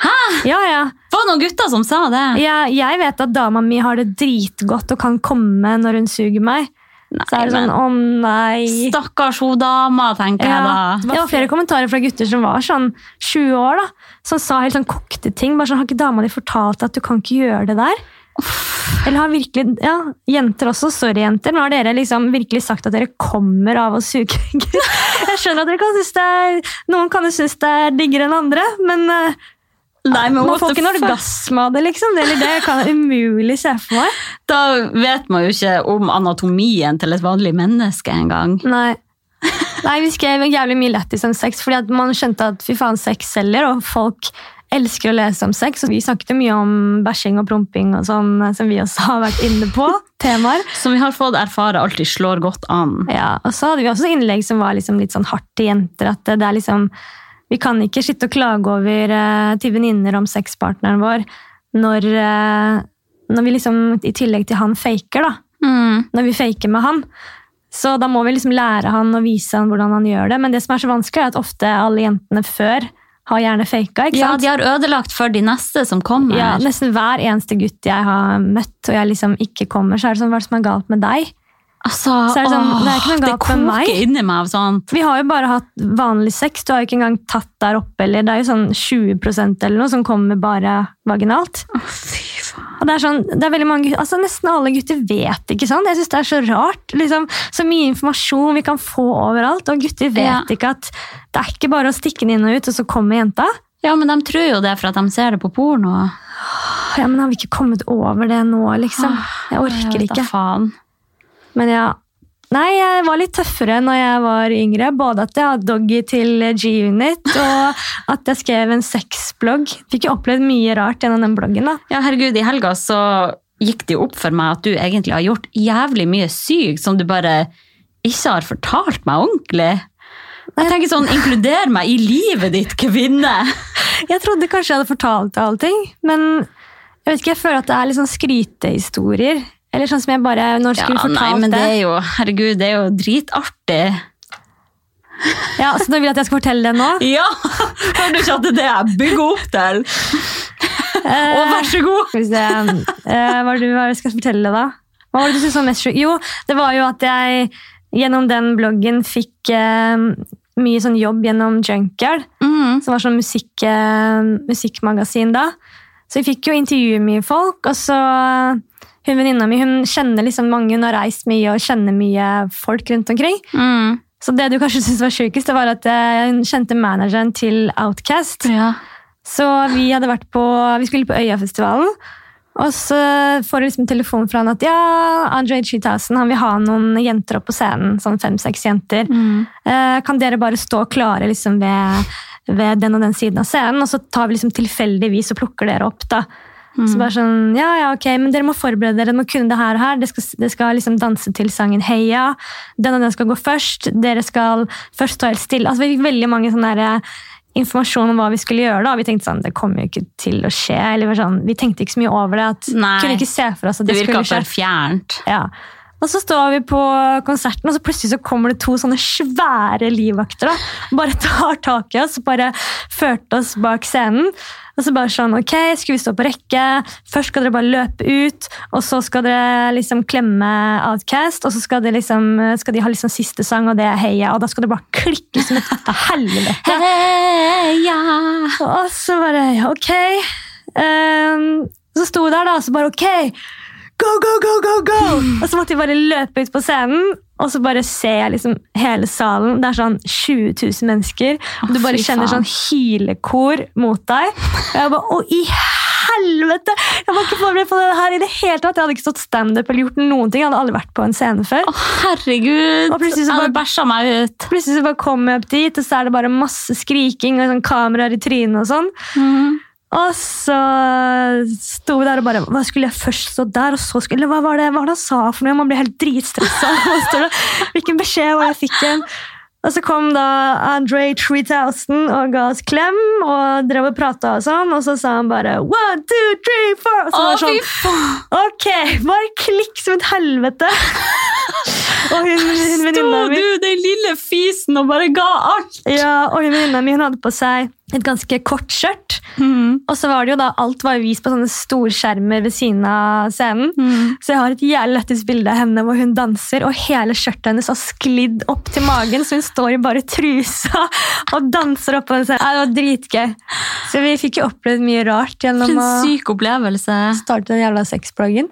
Speaker 1: Hæ? Ja, ja.
Speaker 2: Var det noen gutter som sa det?
Speaker 1: Jeg, jeg vet at dama mi har det dritgodt og kan komme når hun suger meg. så er det
Speaker 2: men-
Speaker 1: sånn, å nei.
Speaker 2: Stakkars ho dama, tenker
Speaker 1: Ja,
Speaker 2: jeg
Speaker 1: det
Speaker 2: da.
Speaker 1: var flere kommentarer fra gutter som var sånn 20 år, da, som sa helt sånn kokte ting. bare sånn, Har ikke dama di fortalt deg at du kan ikke gjøre det der? Eller har virkelig, ja, Jenter også. Sorry, jenter. Men har dere liksom virkelig sagt at dere kommer av å suge gutt? Jeg skjønner at dere kan synes det er, noen kan jo synes det er diggere enn andre, men eh,
Speaker 2: Nei, men
Speaker 1: Man
Speaker 2: what
Speaker 1: får
Speaker 2: the
Speaker 1: ikke noe
Speaker 2: fuck?
Speaker 1: orgasme av det, liksom. Det, eller det kan jeg umulig se for meg.
Speaker 2: Da vet man jo ikke om anatomien til et vanlig menneske engang.
Speaker 1: Nei. Nei, vi skrev jævlig mye lættis om sex, fordi at man skjønte at fy faen, sex selger, og folk elsker å lese om sex. Og vi snakket jo mye om bæsjing og promping og sånn, som vi også har vært inne på. temaer.
Speaker 2: Som vi har fått erfare alltid slår godt an.
Speaker 1: Ja, og så hadde vi også innlegg som var liksom litt sånn hardt til jenter. At det det er liksom Vi kan ikke sitte og klage over eh, til venninner om sexpartneren vår når, eh, når vi liksom i tillegg til han faker, da.
Speaker 2: Mm.
Speaker 1: Når vi faker med han. Så da må vi liksom lære han og vise han hvordan han gjør det. Men det som er så vanskelig, er at ofte alle jentene før har gjerne faka. ikke
Speaker 2: Ja,
Speaker 1: sant?
Speaker 2: de har ødelagt for de neste som kommer.
Speaker 1: Ja, nesten hver eneste gutt jeg har møtt, og jeg liksom ikke kommer, så er det sånn Hva er det som er galt med deg?
Speaker 2: altså,
Speaker 1: Så er det sånn,
Speaker 2: åh,
Speaker 1: det er ikke noe
Speaker 2: det
Speaker 1: galt med meg.
Speaker 2: koker inni meg av sånn, sånt.
Speaker 1: Vi har jo bare hatt vanlig sex. Du har jo ikke engang tatt der oppe. eller Det er jo sånn 20 eller noe som kommer bare vaginalt.
Speaker 2: Fy faen.
Speaker 1: Og det er sånn, det er veldig mange, altså Nesten alle gutter vet ikke sånn. Jeg synes Det er så rart. liksom, Så mye informasjon vi kan få overalt. Og gutter vet
Speaker 2: Ja.
Speaker 1: ikke at det er ikke bare å stikke den inn og ut, og så kommer jenta.
Speaker 2: Ja, men de tror jo det for at de ser det på porno.
Speaker 1: Åh, Ja, men Har vi ikke kommet over det nå, liksom? Jeg orker
Speaker 2: vet da
Speaker 1: ikke.
Speaker 2: faen.
Speaker 1: Men ja. Nei, jeg var litt tøffere når jeg var yngre. Både at jeg hadde doggy til G-Unit, og at jeg skrev en sexblogg. Fikk jo opplevd mye rart gjennom den bloggen. da.
Speaker 2: Ja, herregud, i helga så gikk det jo opp for meg at du egentlig har gjort jævlig mye sykt som du bare ikke har fortalt meg ordentlig. Jeg tenker sånn, inkluder meg i livet ditt, kvinne!
Speaker 1: Jeg trodde kanskje jeg hadde fortalt deg alle ting, men jeg vet ikke, jeg føler at det er litt sånn skrytehistorier. Eller sånn som jeg bare Når skulle
Speaker 2: Ja,
Speaker 1: jeg
Speaker 2: nei,
Speaker 1: fortalt
Speaker 2: men det
Speaker 1: det?
Speaker 2: er jo, herregud, det er jo dritartig.
Speaker 1: Ja, Så du vil at jeg skal fortelle det nå?
Speaker 2: Ja! Hører du ikke at det er det jeg bygger opp til?
Speaker 1: Eh,
Speaker 2: Og vær så god!
Speaker 1: Skal vi se eh, Hva er det du hva er det jeg skal fortelle, da? Hva var det du syntes var mest sjukt? Jo, det var jo at jeg gjennom den bloggen fikk eh, mye sånn jobb gjennom Junkyard,
Speaker 2: Mm.
Speaker 1: som var sånn musikk, eh, musikkmagasin da. Så vi fikk jo intervjue mye folk, og så eh, hun venninna mi hun kjenner liksom mange, hun har reist mye og kjenner mye folk rundt omkring.
Speaker 2: Mm.
Speaker 1: Så det du kanskje syntes var sjukest, det var at eh, hun kjente manageren til Outcast.
Speaker 2: Ja.
Speaker 1: Så vi hadde vært på, vi skulle på Øyafestivalen, og så får jeg liksom telefon fra han at ja, Andre 3000 han vil ha noen jenter opp på scenen, sånn fem-seks jenter. Eh, kan dere bare stå klare liksom ved, ved den og den siden av scenen, og så tar vi liksom tilfeldigvis og plukker dere opp da.
Speaker 2: Mm.
Speaker 1: Så bare sånn, ja, ja, ok, men dere må forberede dere, dere må kunne det her og her. Dere skal, dere skal liksom danse til sangen Heia. Den og den skal gå først. Dere skal først stå helt stille. Altså, vi fikk veldig mange sånne der, eh, informasjon om hva vi skulle gjøre. da, Vi tenkte sånn, det kommer jo ikke til å skje. eller var sånn, Vi tenkte ikke så mye over det. at
Speaker 2: Nei.
Speaker 1: kunne ikke se for oss at altså,
Speaker 2: Det
Speaker 1: det,
Speaker 2: virka
Speaker 1: skulle skje.
Speaker 2: for fjernt.
Speaker 1: Ja. Og så står vi på konserten, og så plutselig så kommer det to sånne svære livvakter. da, og Bare tar tak i oss og bare førte oss bak scenen. Og så bare sånn Ok, skulle vi stå på rekke? Først skal dere bare løpe ut, og så skal dere liksom klemme Outcast, og så skal, dere liksom, skal de ha liksom siste sang, og det er Heia, og da skal det bare klikke som et helvete.
Speaker 2: Heia!
Speaker 1: Og så bare ja, Ok. Ehm, så sto vi der, da, og så bare ok. Go, go, go, go, go! Og så måtte vi bare løpe ut på scenen, og så bare ser jeg liksom hele salen. Det er sånn 20 000 mennesker, og du
Speaker 2: Å,
Speaker 1: bare
Speaker 2: fy
Speaker 1: kjenner
Speaker 2: faen.
Speaker 1: sånn hylekor mot deg. Og jeg bare Å, i helvete! Jeg var ikke forberedt på det her i det hele tatt. Jeg hadde ikke stått standup eller gjort noen ting. Jeg hadde aldri vært på en scene før.
Speaker 2: Å, herregud!
Speaker 1: Og plutselig så
Speaker 2: jeg
Speaker 1: bare-
Speaker 2: hadde bæsja meg ut.
Speaker 1: Plutselig så bare kommer jeg opp dit, og så er det bare masse skriking og sånn kameraer i trynet og sånn. Og så sto vi der og bare Hva skulle jeg først stå der, og så skulle Eller hva var det, hva var det han sa for noe? Man blir helt dritstressa. Man står der, Hvilken beskjed var det jeg fikk igjen? Og så kom da Andre 3000 og ga oss klem og drev og prata og sånn, og så sa han bare one, two, three, four. Og så
Speaker 2: Å,
Speaker 1: var det
Speaker 2: fy
Speaker 1: sånn,
Speaker 2: faen!
Speaker 1: Ok, bare klikk som et helvete. og hun, hun
Speaker 2: Sto
Speaker 1: venninna mi
Speaker 2: du, den lille fisen, og bare ga alt?
Speaker 1: ja, og hun venninna mi hun hadde på seg et ganske kort skjørt. Og så var det jo da, alt var jo vist på sånne storskjermer ved siden av scenen. Så jeg har et jævlig lættis bilde av henne hvor hun danser, og hele skjørtet hennes har sklidd opp til magen, så hun står i bare trusa og danser opp på den scenen. Ja, det var dritgøy. Så vi fikk jo opplevd mye rart
Speaker 2: For
Speaker 1: gjennom
Speaker 2: en
Speaker 1: å
Speaker 2: syk opplevelse.
Speaker 1: starte den jævla sexbloggen.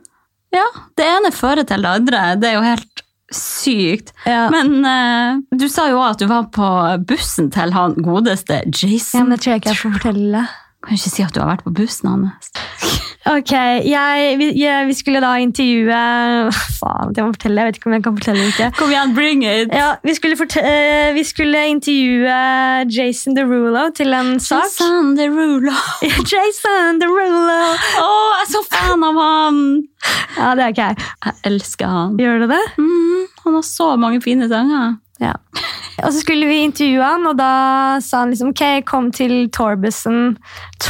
Speaker 2: Ja, det ene fører til det andre. Det er jo helt sykt.
Speaker 1: Ja.
Speaker 2: Men eh, du sa jo også at du var på bussen til han godeste
Speaker 1: Ja,
Speaker 2: Jason.
Speaker 1: men det tror jeg ikke jeg får fortelle.
Speaker 2: Kan ikke si at du har vært på bussen hans.
Speaker 1: Ok, jeg, vi, jeg, vi skulle da intervjue Faen, det må jeg fortelle. Jeg vet ikke om jeg kan fortelle det ikke.
Speaker 2: Kom igjen, bring it!
Speaker 1: Ja, vi skulle, forte- eh, vi skulle intervjue Jason Derulo til en sak.
Speaker 2: Susan Derulo.
Speaker 1: Jason Derulo!
Speaker 2: Å, jeg er så fan av han!
Speaker 1: Ja, det er ikke jeg.
Speaker 2: Jeg elsker han.
Speaker 1: Gjør du det?
Speaker 2: Mm, han har så mange fine sanger.
Speaker 1: Ja. Og så skulle vi intervjue han, og da sa han liksom ok, kom til Torbussen.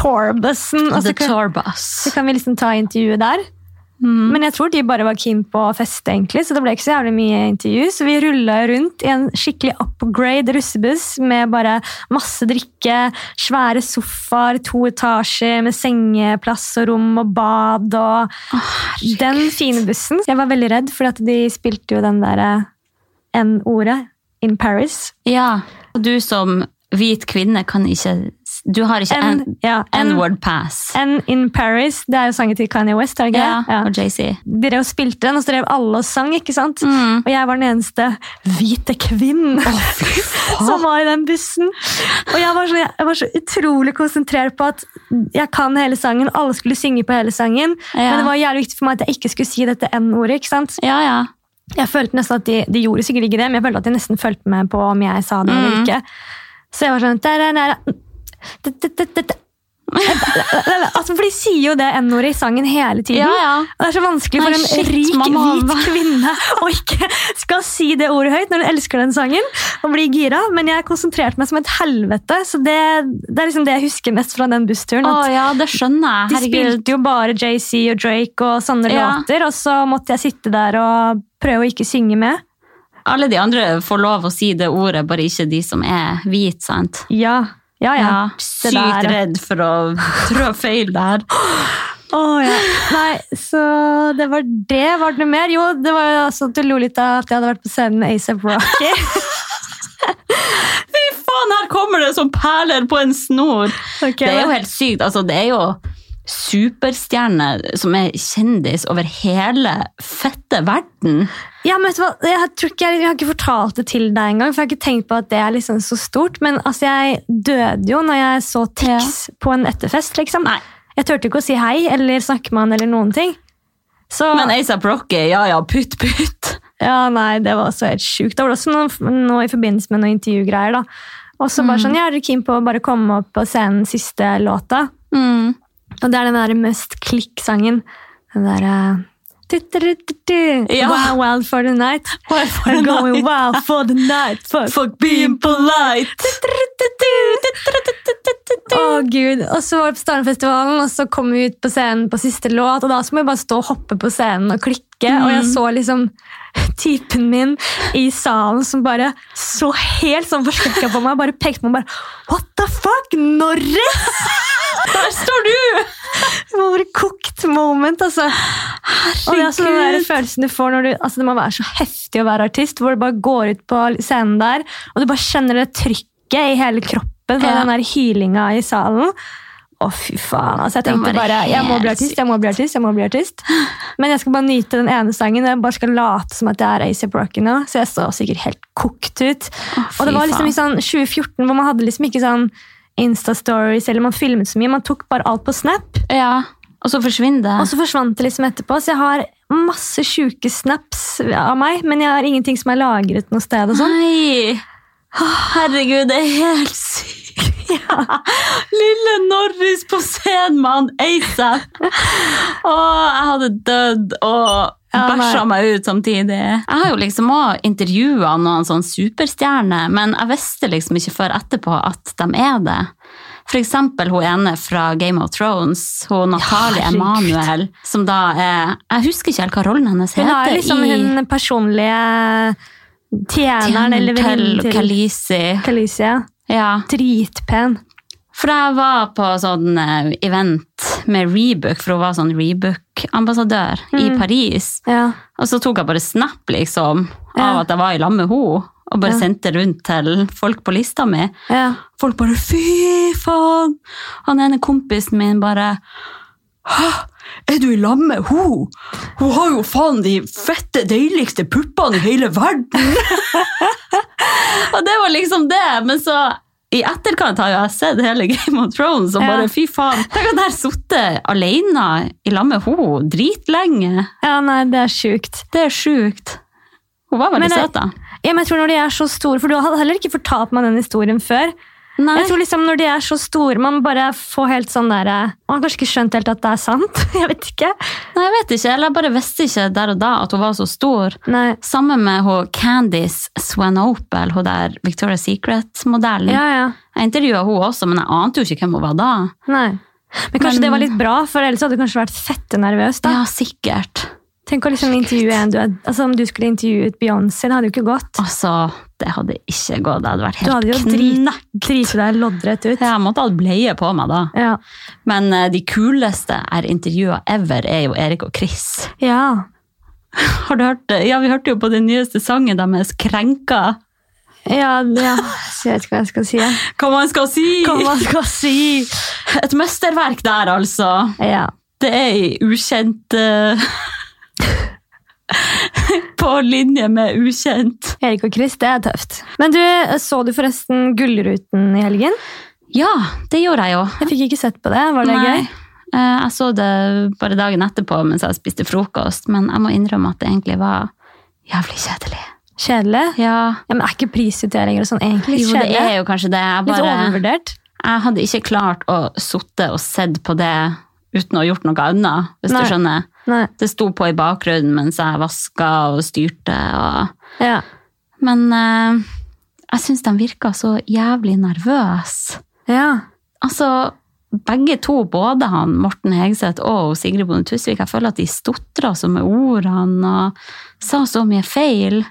Speaker 1: Torbussen! Og
Speaker 2: The
Speaker 1: så kan,
Speaker 2: Tour Bus.
Speaker 1: så kan vi liksom ta intervjuet der.
Speaker 2: Mm.
Speaker 1: Men jeg tror de bare var keen på å feste, egentlig, så det ble ikke så jævlig mye intervju. Så vi rulla rundt i en skikkelig upgrade russebuss med bare masse drikke, svære sofaer, to etasjer med sengeplass og rom og bad og Den fine bussen. Jeg var veldig redd, for de spilte jo den derre N-ordet in Paris.
Speaker 2: Ja, og du som hvit kvinne kan ikke Du har ikke
Speaker 1: N,
Speaker 2: en
Speaker 1: ja, N,
Speaker 2: N-word pass.
Speaker 1: N in Paris. Det er jo sangen til Kanye West, er det ikke?
Speaker 2: Ja,
Speaker 1: det?
Speaker 2: og JC.
Speaker 1: De drev og spilte den, og så drev alle og sang, ikke sant?
Speaker 2: Mm.
Speaker 1: Og jeg var den eneste hvite kvinnen som var i den bussen. Og jeg var, så, jeg var så utrolig konsentrert på at jeg kan hele sangen, alle skulle synge på hele sangen,
Speaker 2: Ja.
Speaker 1: men det var jævlig viktig for meg at jeg ikke skulle si dette N-ordet, ikke sant?
Speaker 2: Ja, ja.
Speaker 1: Jeg følte nesten at de, de gjorde sikkert ikke det, men jeg følte at de nesten følte med på om jeg sa det eller
Speaker 2: Mm.
Speaker 1: ikke. Så jeg var sånn der, der, der, der, der, der, der, der. Altså, for de sier jo det N-ordet i sangen hele tiden.
Speaker 2: Ja, ja.
Speaker 1: Og det er så vanskelig for
Speaker 2: Nei,
Speaker 1: en
Speaker 2: shit,
Speaker 1: rik,
Speaker 2: mamma.
Speaker 1: hvit kvinne å ikke skal si det ordet høyt når hun elsker den sangen og blir gira. Men jeg konsentrerte meg som et helvete, så det, det er liksom det jeg husker mest fra den bussturen.
Speaker 2: Å
Speaker 1: at
Speaker 2: ja, det skjønner jeg.
Speaker 1: de
Speaker 2: Herregud.
Speaker 1: spilte jo bare JC og Drake og sånne
Speaker 2: Ja.
Speaker 1: låter, og så måtte jeg sitte der og prøve å ikke synge med.
Speaker 2: Alle de andre får lov å si det ordet, bare ikke de som er hvit, sant?
Speaker 1: Ja, ja, ja.
Speaker 2: Ja,
Speaker 1: Det
Speaker 2: Sykt
Speaker 1: der.
Speaker 2: redd for å trå feil der.
Speaker 1: Å, ja. Nei, så det var det. Var det noe mer? Jo, det var jo altså at du lo litt av at jeg hadde vært på scenen med ASAP Rocky.
Speaker 2: Fy faen, her kommer det som perler på en snor!
Speaker 1: Ok,
Speaker 2: det er jo
Speaker 1: men-
Speaker 2: helt sykt. Altså, det er jo superstjerne som er kjendis over hele fette verden.
Speaker 1: Ja, men vet du hva? Jeg, tror ikke jeg, jeg har ikke fortalt det til deg engang, for jeg har ikke tenkt på at det er liksom så stort. Men altså, jeg døde jo når jeg så Tix på en etterfest, liksom.
Speaker 2: Nei.
Speaker 1: Jeg turte ikke å si hei eller snakke med han eller noen ting. Så,
Speaker 2: Men ASAP Rocky, ja ja, putt, putt.
Speaker 1: Ja, nei, det var også helt sjukt. Det var også noe, noe i forbindelse med noen intervjugreier, da. Og så bare sånn, ja, er dere keen på å bare komme opp på scenen siste låta? Og det er den der mest klikk-sangen. Den der eh, «Du-du-du-du-du,
Speaker 2: Ja.
Speaker 1: Wow, wild for the night.
Speaker 2: Wild for
Speaker 1: I'm
Speaker 2: the
Speaker 1: going
Speaker 2: night.
Speaker 1: wild for the night. Fuck.
Speaker 2: Fuck being polite!
Speaker 1: Å, gud. Og så var det på Starnfestivalen, og så kom vi ut på scenen på siste låt, og da så må vi bare stå og hoppe på scenen og klikke, og jeg så liksom typen min i salen som bare så helt sånn forskrekka på meg, bare pekte på meg og bare What the fuck? Norris?
Speaker 2: Der står du!
Speaker 1: Det var bare kokt moment, altså. Og det er altså den der følelsen du får når du altså Det må være så heftig å være artist, hvor du bare går ut på scenen der, og du bare kjenner det trykket i hele kroppen fra
Speaker 2: Ja.
Speaker 1: den der hylinga i salen. Å, fy faen. altså Jeg
Speaker 2: Den
Speaker 1: tenkte
Speaker 2: var
Speaker 1: bare jeg må bli
Speaker 2: helt
Speaker 1: artist, jeg må bli artist. jeg må bli artist. Men jeg skal bare nyte den ene sangen, og jeg bare skal late som at jeg er ASAP Rocky nå. Så jeg står sikkert helt kokt ut.
Speaker 2: fy
Speaker 1: og det var liksom
Speaker 2: faen.
Speaker 1: i sånn 2014 hvor man hadde liksom ikke sånn Insta-stories, eller man filmet så mye. Man tok bare alt på Snap.
Speaker 2: Ja, og så forsvinner det.
Speaker 1: Og så forsvant det liksom etterpå, så jeg har masse sjuke snaps av meg, men jeg har ingenting som er lagret noe sted. og sånn.
Speaker 2: Nei! Herregud, det er helt sykt. Lille Norris på scenen med han ASAP. Å, jeg hadde dødd og
Speaker 1: Ja, nei.
Speaker 2: bæsja meg ut samtidig. Jeg har jo liksom òg intervjua noen sånn superstjerner, men jeg visste liksom ikke før etterpå at de er det. For eksempel hun ene fra Game of Thrones, hun Natalie
Speaker 1: herregud.
Speaker 2: Emanuel, som da er Jeg husker ikke helt hva rollen hennes
Speaker 1: Hun
Speaker 2: heter.
Speaker 1: er liksom
Speaker 2: i
Speaker 1: hun personlige tjeneren eller
Speaker 2: Tjeneren
Speaker 1: venninnen
Speaker 2: til
Speaker 1: til
Speaker 2: Khaleesi.
Speaker 1: Kalicia.
Speaker 2: Ja.
Speaker 1: Dritpen.
Speaker 2: For jeg var på sånn eh, event med Rebook, for hun var sånn Rebook-ambassadør i
Speaker 1: Mm.
Speaker 2: Paris.
Speaker 1: Ja.
Speaker 2: Og så tok jeg bare snap liksom, av
Speaker 1: Ja.
Speaker 2: at jeg var i lag med henne, og bare
Speaker 1: Ja.
Speaker 2: sendte rundt til folk på lista mi.
Speaker 1: ja.
Speaker 2: Folk bare 'fy faen'! Han ene kompisen min bare 'hæ, er du i lag med henne? Hun har jo faen de fette, deiligste puppene i hele verden! og det var liksom det, men så i etterkant har jo jeg sett hele Game of Thrones og
Speaker 1: Ja.
Speaker 2: bare fy faen. Tenk at jeg har sittet alene i lag med henne dritlenge.
Speaker 1: Ja, nei, det er sjukt.
Speaker 2: Det er sjukt. Hun var
Speaker 1: Men
Speaker 2: veldig
Speaker 1: jeg-
Speaker 2: søt, da.
Speaker 1: Ja, men jeg tror når de er så store, for Du hadde heller ikke fortalt meg den historien før.
Speaker 2: Nei.
Speaker 1: Jeg tror liksom Når de er så store, man bare får helt sånn der eh, Man har kanskje ikke skjønt helt at det er sant. Jeg vet ikke.
Speaker 2: Nei, jeg vet ikke. Eller jeg bare visste ikke der og da at hun var så stor.
Speaker 1: Nei.
Speaker 2: Sammen med hun Candice Swanopel, hun der Victoria's Secret-modellen.
Speaker 1: Ja, ja.
Speaker 2: Jeg intervjua hun også, men jeg ante jo ikke hvem hun var da.
Speaker 1: Nei. Men kanskje
Speaker 2: Men-
Speaker 1: det var litt bra, for ellers hadde du kanskje vært fette nervøs. da.
Speaker 2: Ja, sikkert.
Speaker 1: Tenk å liksom intervjue en du er, altså Om du skulle intervjuet Beyoncé, det hadde jo ikke gått.
Speaker 2: Altså, det hadde ikke gått. Det hadde vært
Speaker 1: Du hadde jo
Speaker 2: helt
Speaker 1: drit-
Speaker 2: knekk.
Speaker 1: Drite deg loddrett ut.
Speaker 2: Jeg måtte ha hatt bleie på meg da.
Speaker 1: Ja.
Speaker 2: Men eh, de kuleste jeg har intervjua ever, er jo Erik og Chris.
Speaker 1: ja.
Speaker 2: Har du hørt det? Ja, vi hørte jo på den nyeste sangen deres, 'Krenka'.
Speaker 1: Ja, ja. Så jeg vet ikke hva jeg skal si. jeg.
Speaker 2: Hva man skal si!
Speaker 1: Hva man skal si!
Speaker 2: Et mesterverk der, altså.
Speaker 1: Ja.
Speaker 2: Det er ei ukjent eh, På linje med ukjent.
Speaker 1: Erik og Chris, det er tøft. Men du, så du forresten Gullruten i helgen?
Speaker 2: Ja, det gjorde jeg jo.
Speaker 1: Jeg fikk ikke sett på det. Var det
Speaker 2: Nei,
Speaker 1: gøy?
Speaker 2: eh, Jeg så det bare dagen etterpå mens jeg spiste frokost, men jeg må innrømme at det egentlig var jævlig kjedelig.
Speaker 1: Kjedelig?
Speaker 2: Ja,
Speaker 1: Ja, men Er ikke prisutdelinger og sånn egentlig litt
Speaker 2: jo, det
Speaker 1: kjedelig?
Speaker 2: er jo kanskje det. Jeg,
Speaker 1: Litt
Speaker 2: bare,
Speaker 1: overvurdert?
Speaker 2: jeg hadde ikke klart å sitte og sett på det uten å ha gjort noe annet, hvis
Speaker 1: Nei.
Speaker 2: du skjønner.
Speaker 1: Nei.
Speaker 2: Det sto på i bakgrunnen mens jeg vaska og styrte. Og...
Speaker 1: Ja.
Speaker 2: Men eh, jeg syns de virka så jævlig nervøse.
Speaker 1: ja.
Speaker 2: Altså, begge to, både han Morten Hegseth og Sigrid Bonde Tusvik, jeg føler at de stotra så med ordene og sa så mye feil.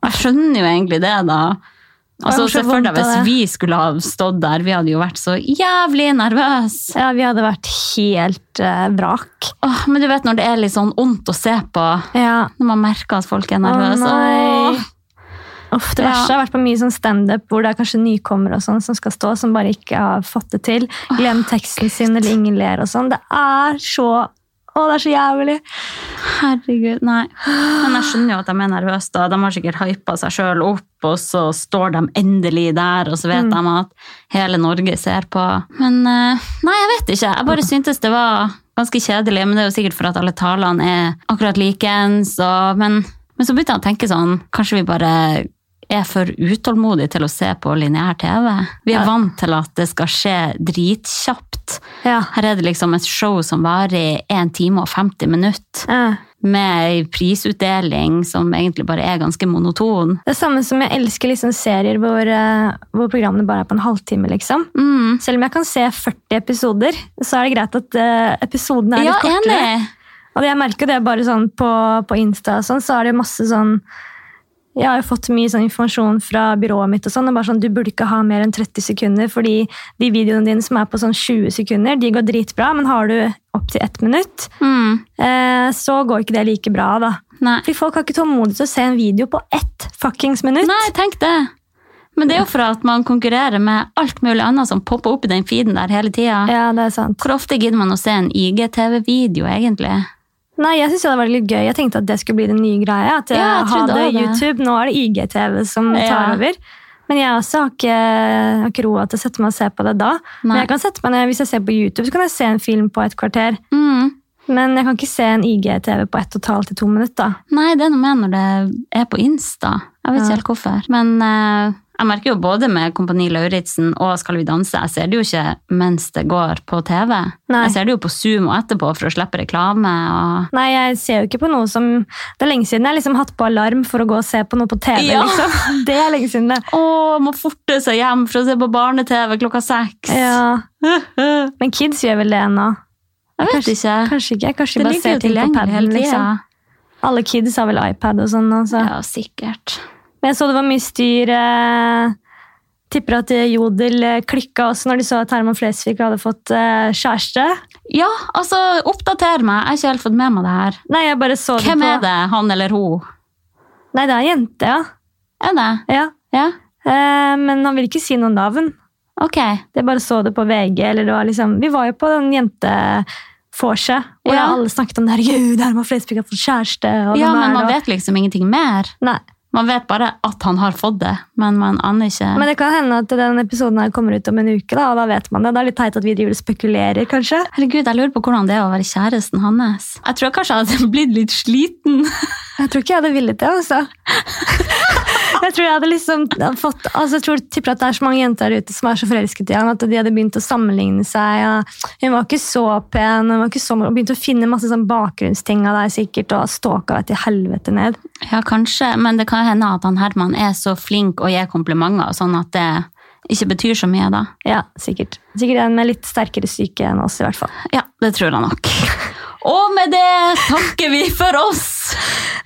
Speaker 2: Og jeg skjønner jo egentlig det, da.
Speaker 1: Det
Speaker 2: Altså,
Speaker 1: var så
Speaker 2: Se for deg
Speaker 1: vondt av
Speaker 2: hvis
Speaker 1: det.
Speaker 2: vi skulle ha stått der, vi hadde jo vært så jævlig nervøse.
Speaker 1: Ja, vi hadde vært helt eh, vrak.
Speaker 2: Åh, men du vet når det er litt sånn ondt å se på,
Speaker 1: Ja.
Speaker 2: når man merker at folk er nervøse.
Speaker 1: nei.
Speaker 2: Åh.
Speaker 1: Uff, det
Speaker 2: Ja.
Speaker 1: verste har vært på mye sånn standup hvor det er kanskje nykommere og sånn som skal stå, som bare ikke har fått det til. Glem teksten sin eller ingen ler og sånn. Det er så Å, det er så jævlig!
Speaker 2: Herregud, nei. Men jeg skjønner jo at de er nervøse. da. De har sikkert hypa seg sjøl opp, og så står de endelig der, og så vet de at hele Norge ser på. Men eh, nei, jeg vet ikke. Jeg bare syntes det var ganske kjedelig. Men det er jo sikkert for at alle talene er akkurat likeens. og- Men, men så begynte jeg å tenke sånn Kanskje vi bare er for utålmodige til å se på lineær TV. Vi
Speaker 1: Ja.
Speaker 2: er vant til at det skal skje dritkjapt.
Speaker 1: Ja.
Speaker 2: Her er det liksom et show som varer i 1 time og 50 minutter
Speaker 1: Eh.
Speaker 2: med ei prisutdeling som egentlig bare er ganske monoton.
Speaker 1: Det er samme som jeg elsker liksom serier hvor, eh, hvor programmene bare er på en halvtime. liksom.
Speaker 2: Mm.
Speaker 1: Selv om jeg kan se 40 episoder, så er det greit at eh, episodene er
Speaker 2: Ja,
Speaker 1: litt kortere.
Speaker 2: enig!
Speaker 1: Og det jeg merker det er bare sånn på, på Insta og sånn, så er det masse sånn Jeg har jo fått mye sånn informasjon fra byrået mitt og sånn, og bare sånn du burde ikke ha mer enn 30 sekunder, fordi de videoene dine som er på sånn 20 sekunder, de går dritbra, men har du opptil ett minutt,
Speaker 2: Mm.
Speaker 1: eh, så går ikke det like bra, da.
Speaker 2: Nei.
Speaker 1: Fordi folk har ikke tålmodighet til å se en video på ett fuckings minutt.
Speaker 2: Nei, tenk det! Men det er jo for at man konkurrerer med alt mulig annet som popper opp i den feeden der hele tida.
Speaker 1: Ja, det er sant.
Speaker 2: Hvor ofte gidder man å se en IGTV-video, egentlig?
Speaker 1: Nei, jeg synes jo det var litt gøy. Jeg tenkte at det skulle bli den nye greia. At
Speaker 2: Ja, jeg
Speaker 1: jeg
Speaker 2: trodde
Speaker 1: hadde
Speaker 2: også det.
Speaker 1: YouTube. Nå er det IGTV som tar
Speaker 2: Ja.
Speaker 1: over. Men jeg også har ikke, har ikke roa til å sette meg og se på det da. Men
Speaker 2: Nei.
Speaker 1: jeg kan sette meg ned, Hvis jeg ser på YouTube, så kan jeg se en film på et kvarter.
Speaker 2: Mm.
Speaker 1: Men jeg kan ikke se en IGTV på ett og et halvt til to minutter.
Speaker 2: Nei, det er noe med når det er på Insta. Jeg vet
Speaker 1: Ja.
Speaker 2: ikke helt hvorfor. Men eh, jeg merker jo både med Kompani Lauritzen og Skal vi danse, jeg ser det jo ikke mens det går på TV.
Speaker 1: Nei.
Speaker 2: Jeg ser det jo på Zoom og etterpå for å slippe reklame. Og...
Speaker 1: Nei, jeg ser jo ikke på noe som Det er lenge siden jeg har liksom hatt på alarm for å gå og se på noe på TV.
Speaker 2: Ja.
Speaker 1: liksom. Det er lenge siden, det.
Speaker 2: Å, må forte seg hjem for å se på barne-TV klokka seks.
Speaker 1: Ja.
Speaker 2: jeg
Speaker 1: Men kids gjør vel det ennå?
Speaker 2: vet
Speaker 1: Kanskje-
Speaker 2: ikke.
Speaker 1: Kanskje ikke. Kanskje de
Speaker 2: Det
Speaker 1: bare
Speaker 2: ligger
Speaker 1: ser ting
Speaker 2: jo
Speaker 1: på
Speaker 2: tilgjengelig
Speaker 1: paden.
Speaker 2: hele tida.
Speaker 1: Liksom. Alle kids har vel iPad og sånn. Altså.
Speaker 2: Ja, sikkert.
Speaker 1: Men jeg så det var mye styr. Eh, tipper at eh, Jodel eh, klikka også når de så at Herman Flesvig hadde fått eh, kjæreste.
Speaker 2: Ja, altså, oppdater meg. Jeg har ikke helt fått med meg det her.
Speaker 1: Nei, jeg bare så
Speaker 2: Hvem
Speaker 1: det på
Speaker 2: er det? Han eller hun?
Speaker 1: Nei, det er en jente, ja.
Speaker 2: Er det?
Speaker 1: ja.
Speaker 2: Ja,
Speaker 1: Eh, men han vil ikke si noe navn.
Speaker 2: ok.
Speaker 1: Jeg bare så det på VG. eller det var liksom, Vi var jo på den jente... Forse, og
Speaker 2: Ja.
Speaker 1: alle snakket om det her, Gud, Herman Flesvig har fått kjæreste. Og
Speaker 2: Ja,
Speaker 1: hvem er
Speaker 2: men man
Speaker 1: det,
Speaker 2: vet liksom ingenting
Speaker 1: og...
Speaker 2: mer.
Speaker 1: Nei.
Speaker 2: Man vet bare at han har fått det, men man aner ikke
Speaker 1: Men det kan hende at den episoden her kommer ut om en uke, da, og da vet man det. Det er litt teit at vi driver og spekulerer, kanskje.
Speaker 2: Herregud, jeg lurer på hvordan det er å være kjæresten hans. Jeg tror kanskje jeg hadde blitt litt sliten.
Speaker 1: Jeg tror ikke jeg hadde villet det, altså. Jeg tror jeg hadde liksom fått, altså jeg tror, tipper at det er så mange jenter der ute som er så forelsket i han, at de hadde begynt å sammenligne seg. Og hun var ikke så pen, hun var ikke så, og begynte å finne masse sånn bakgrunnsting av deg sikkert, og stalka deg til helvete ned.
Speaker 2: Ja, kanskje, men det kan hende at han Herman er så flink og gir komplimenter, sånn at det ikke betyr så mye da.
Speaker 1: Ja, sikkert. Sikkert en med litt sterkere psyke enn oss, i hvert fall.
Speaker 2: Ja, det tror jeg nok. Og med det takker vi for oss!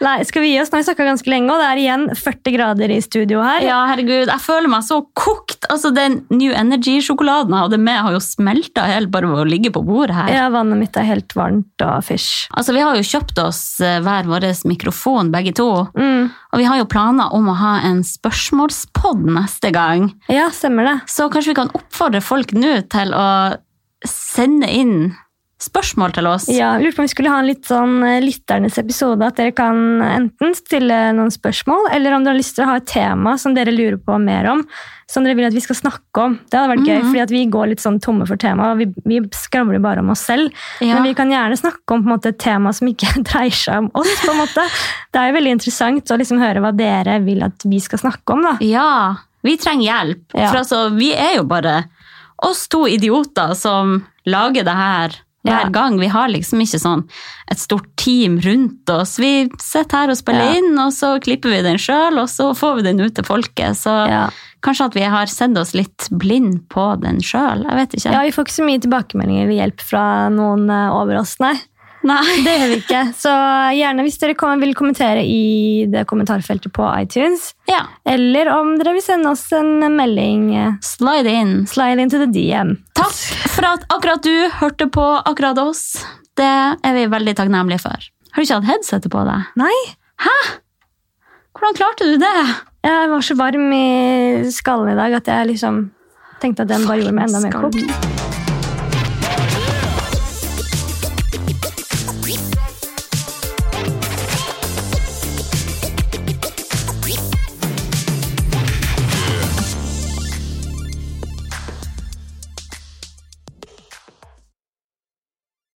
Speaker 1: Nei, skal vi gi oss? Nå har vi snakka ganske lenge, og det er igjen 40 grader i studio her.
Speaker 2: Ja, herregud, jeg føler meg så kokt! Altså, Den New Energy-sjokoladen jeg hadde med, har jo smelta helt bare ved å ligge på bordet her.
Speaker 1: Ja, vannet mitt er helt varmt og fysj.
Speaker 2: Altså, Vi har jo kjøpt oss eh, hver vår mikrofon, begge to.
Speaker 1: Mm.
Speaker 2: Og vi har jo planer om å ha en spørsmålspod neste gang.
Speaker 1: Ja, stemmer det.
Speaker 2: Så kanskje vi kan oppfordre folk nå til å sende inn spørsmål til oss.
Speaker 1: Ja, jeg Lurte på om vi skulle ha en litt sånn eh, lytternes episode. At dere kan enten stille noen spørsmål, eller om dere har lyst til å ha et tema som dere lurer på mer om. Som dere vil at vi skal snakke om. Det hadde vært gøy, fordi at vi går litt sånn tomme for tema. og Vi, vi skravler bare om oss selv.
Speaker 2: Ja.
Speaker 1: Men vi kan gjerne snakke om på en måte, et tema som ikke dreier seg om oss. på en måte. Det er jo veldig interessant å liksom høre hva dere vil at vi skal snakke om. da.
Speaker 2: Ja, vi trenger hjelp.
Speaker 1: Ja.
Speaker 2: For altså, vi er jo bare oss to idioter som lager det her hver
Speaker 1: Ja.
Speaker 2: gang. Vi har liksom ikke sånn et stort team rundt oss. Vi sitter her og spiller
Speaker 1: Ja.
Speaker 2: inn, og så klipper vi den sjøl, og så får vi den ut til folket. Så kanskje at vi har sett oss litt blind på den sjøl. Jeg vet ikke.
Speaker 1: Ja, Vi får ikke så mye tilbakemeldinger eller hjelp fra noen eh, over oss, nei.
Speaker 2: Nei.
Speaker 1: Det gjør vi ikke. Så gjerne hvis dere kom, vil kommentere i det kommentarfeltet på iTunes,
Speaker 2: Ja.
Speaker 1: eller om dere vil sende oss en melding. eh,
Speaker 2: Slide inn.
Speaker 1: Slide into the DM.
Speaker 2: Takk for at akkurat du hørte på akkurat oss. Det er vi veldig takknemlige for. Har du ikke hatt headsetet på deg?
Speaker 1: Nei,
Speaker 2: Hvordan klarte du det?
Speaker 1: jeg var så varm i skallen i dag at jeg liksom tenkte at den bare gjorde meg enda mer kokt.
Speaker 2: Skal-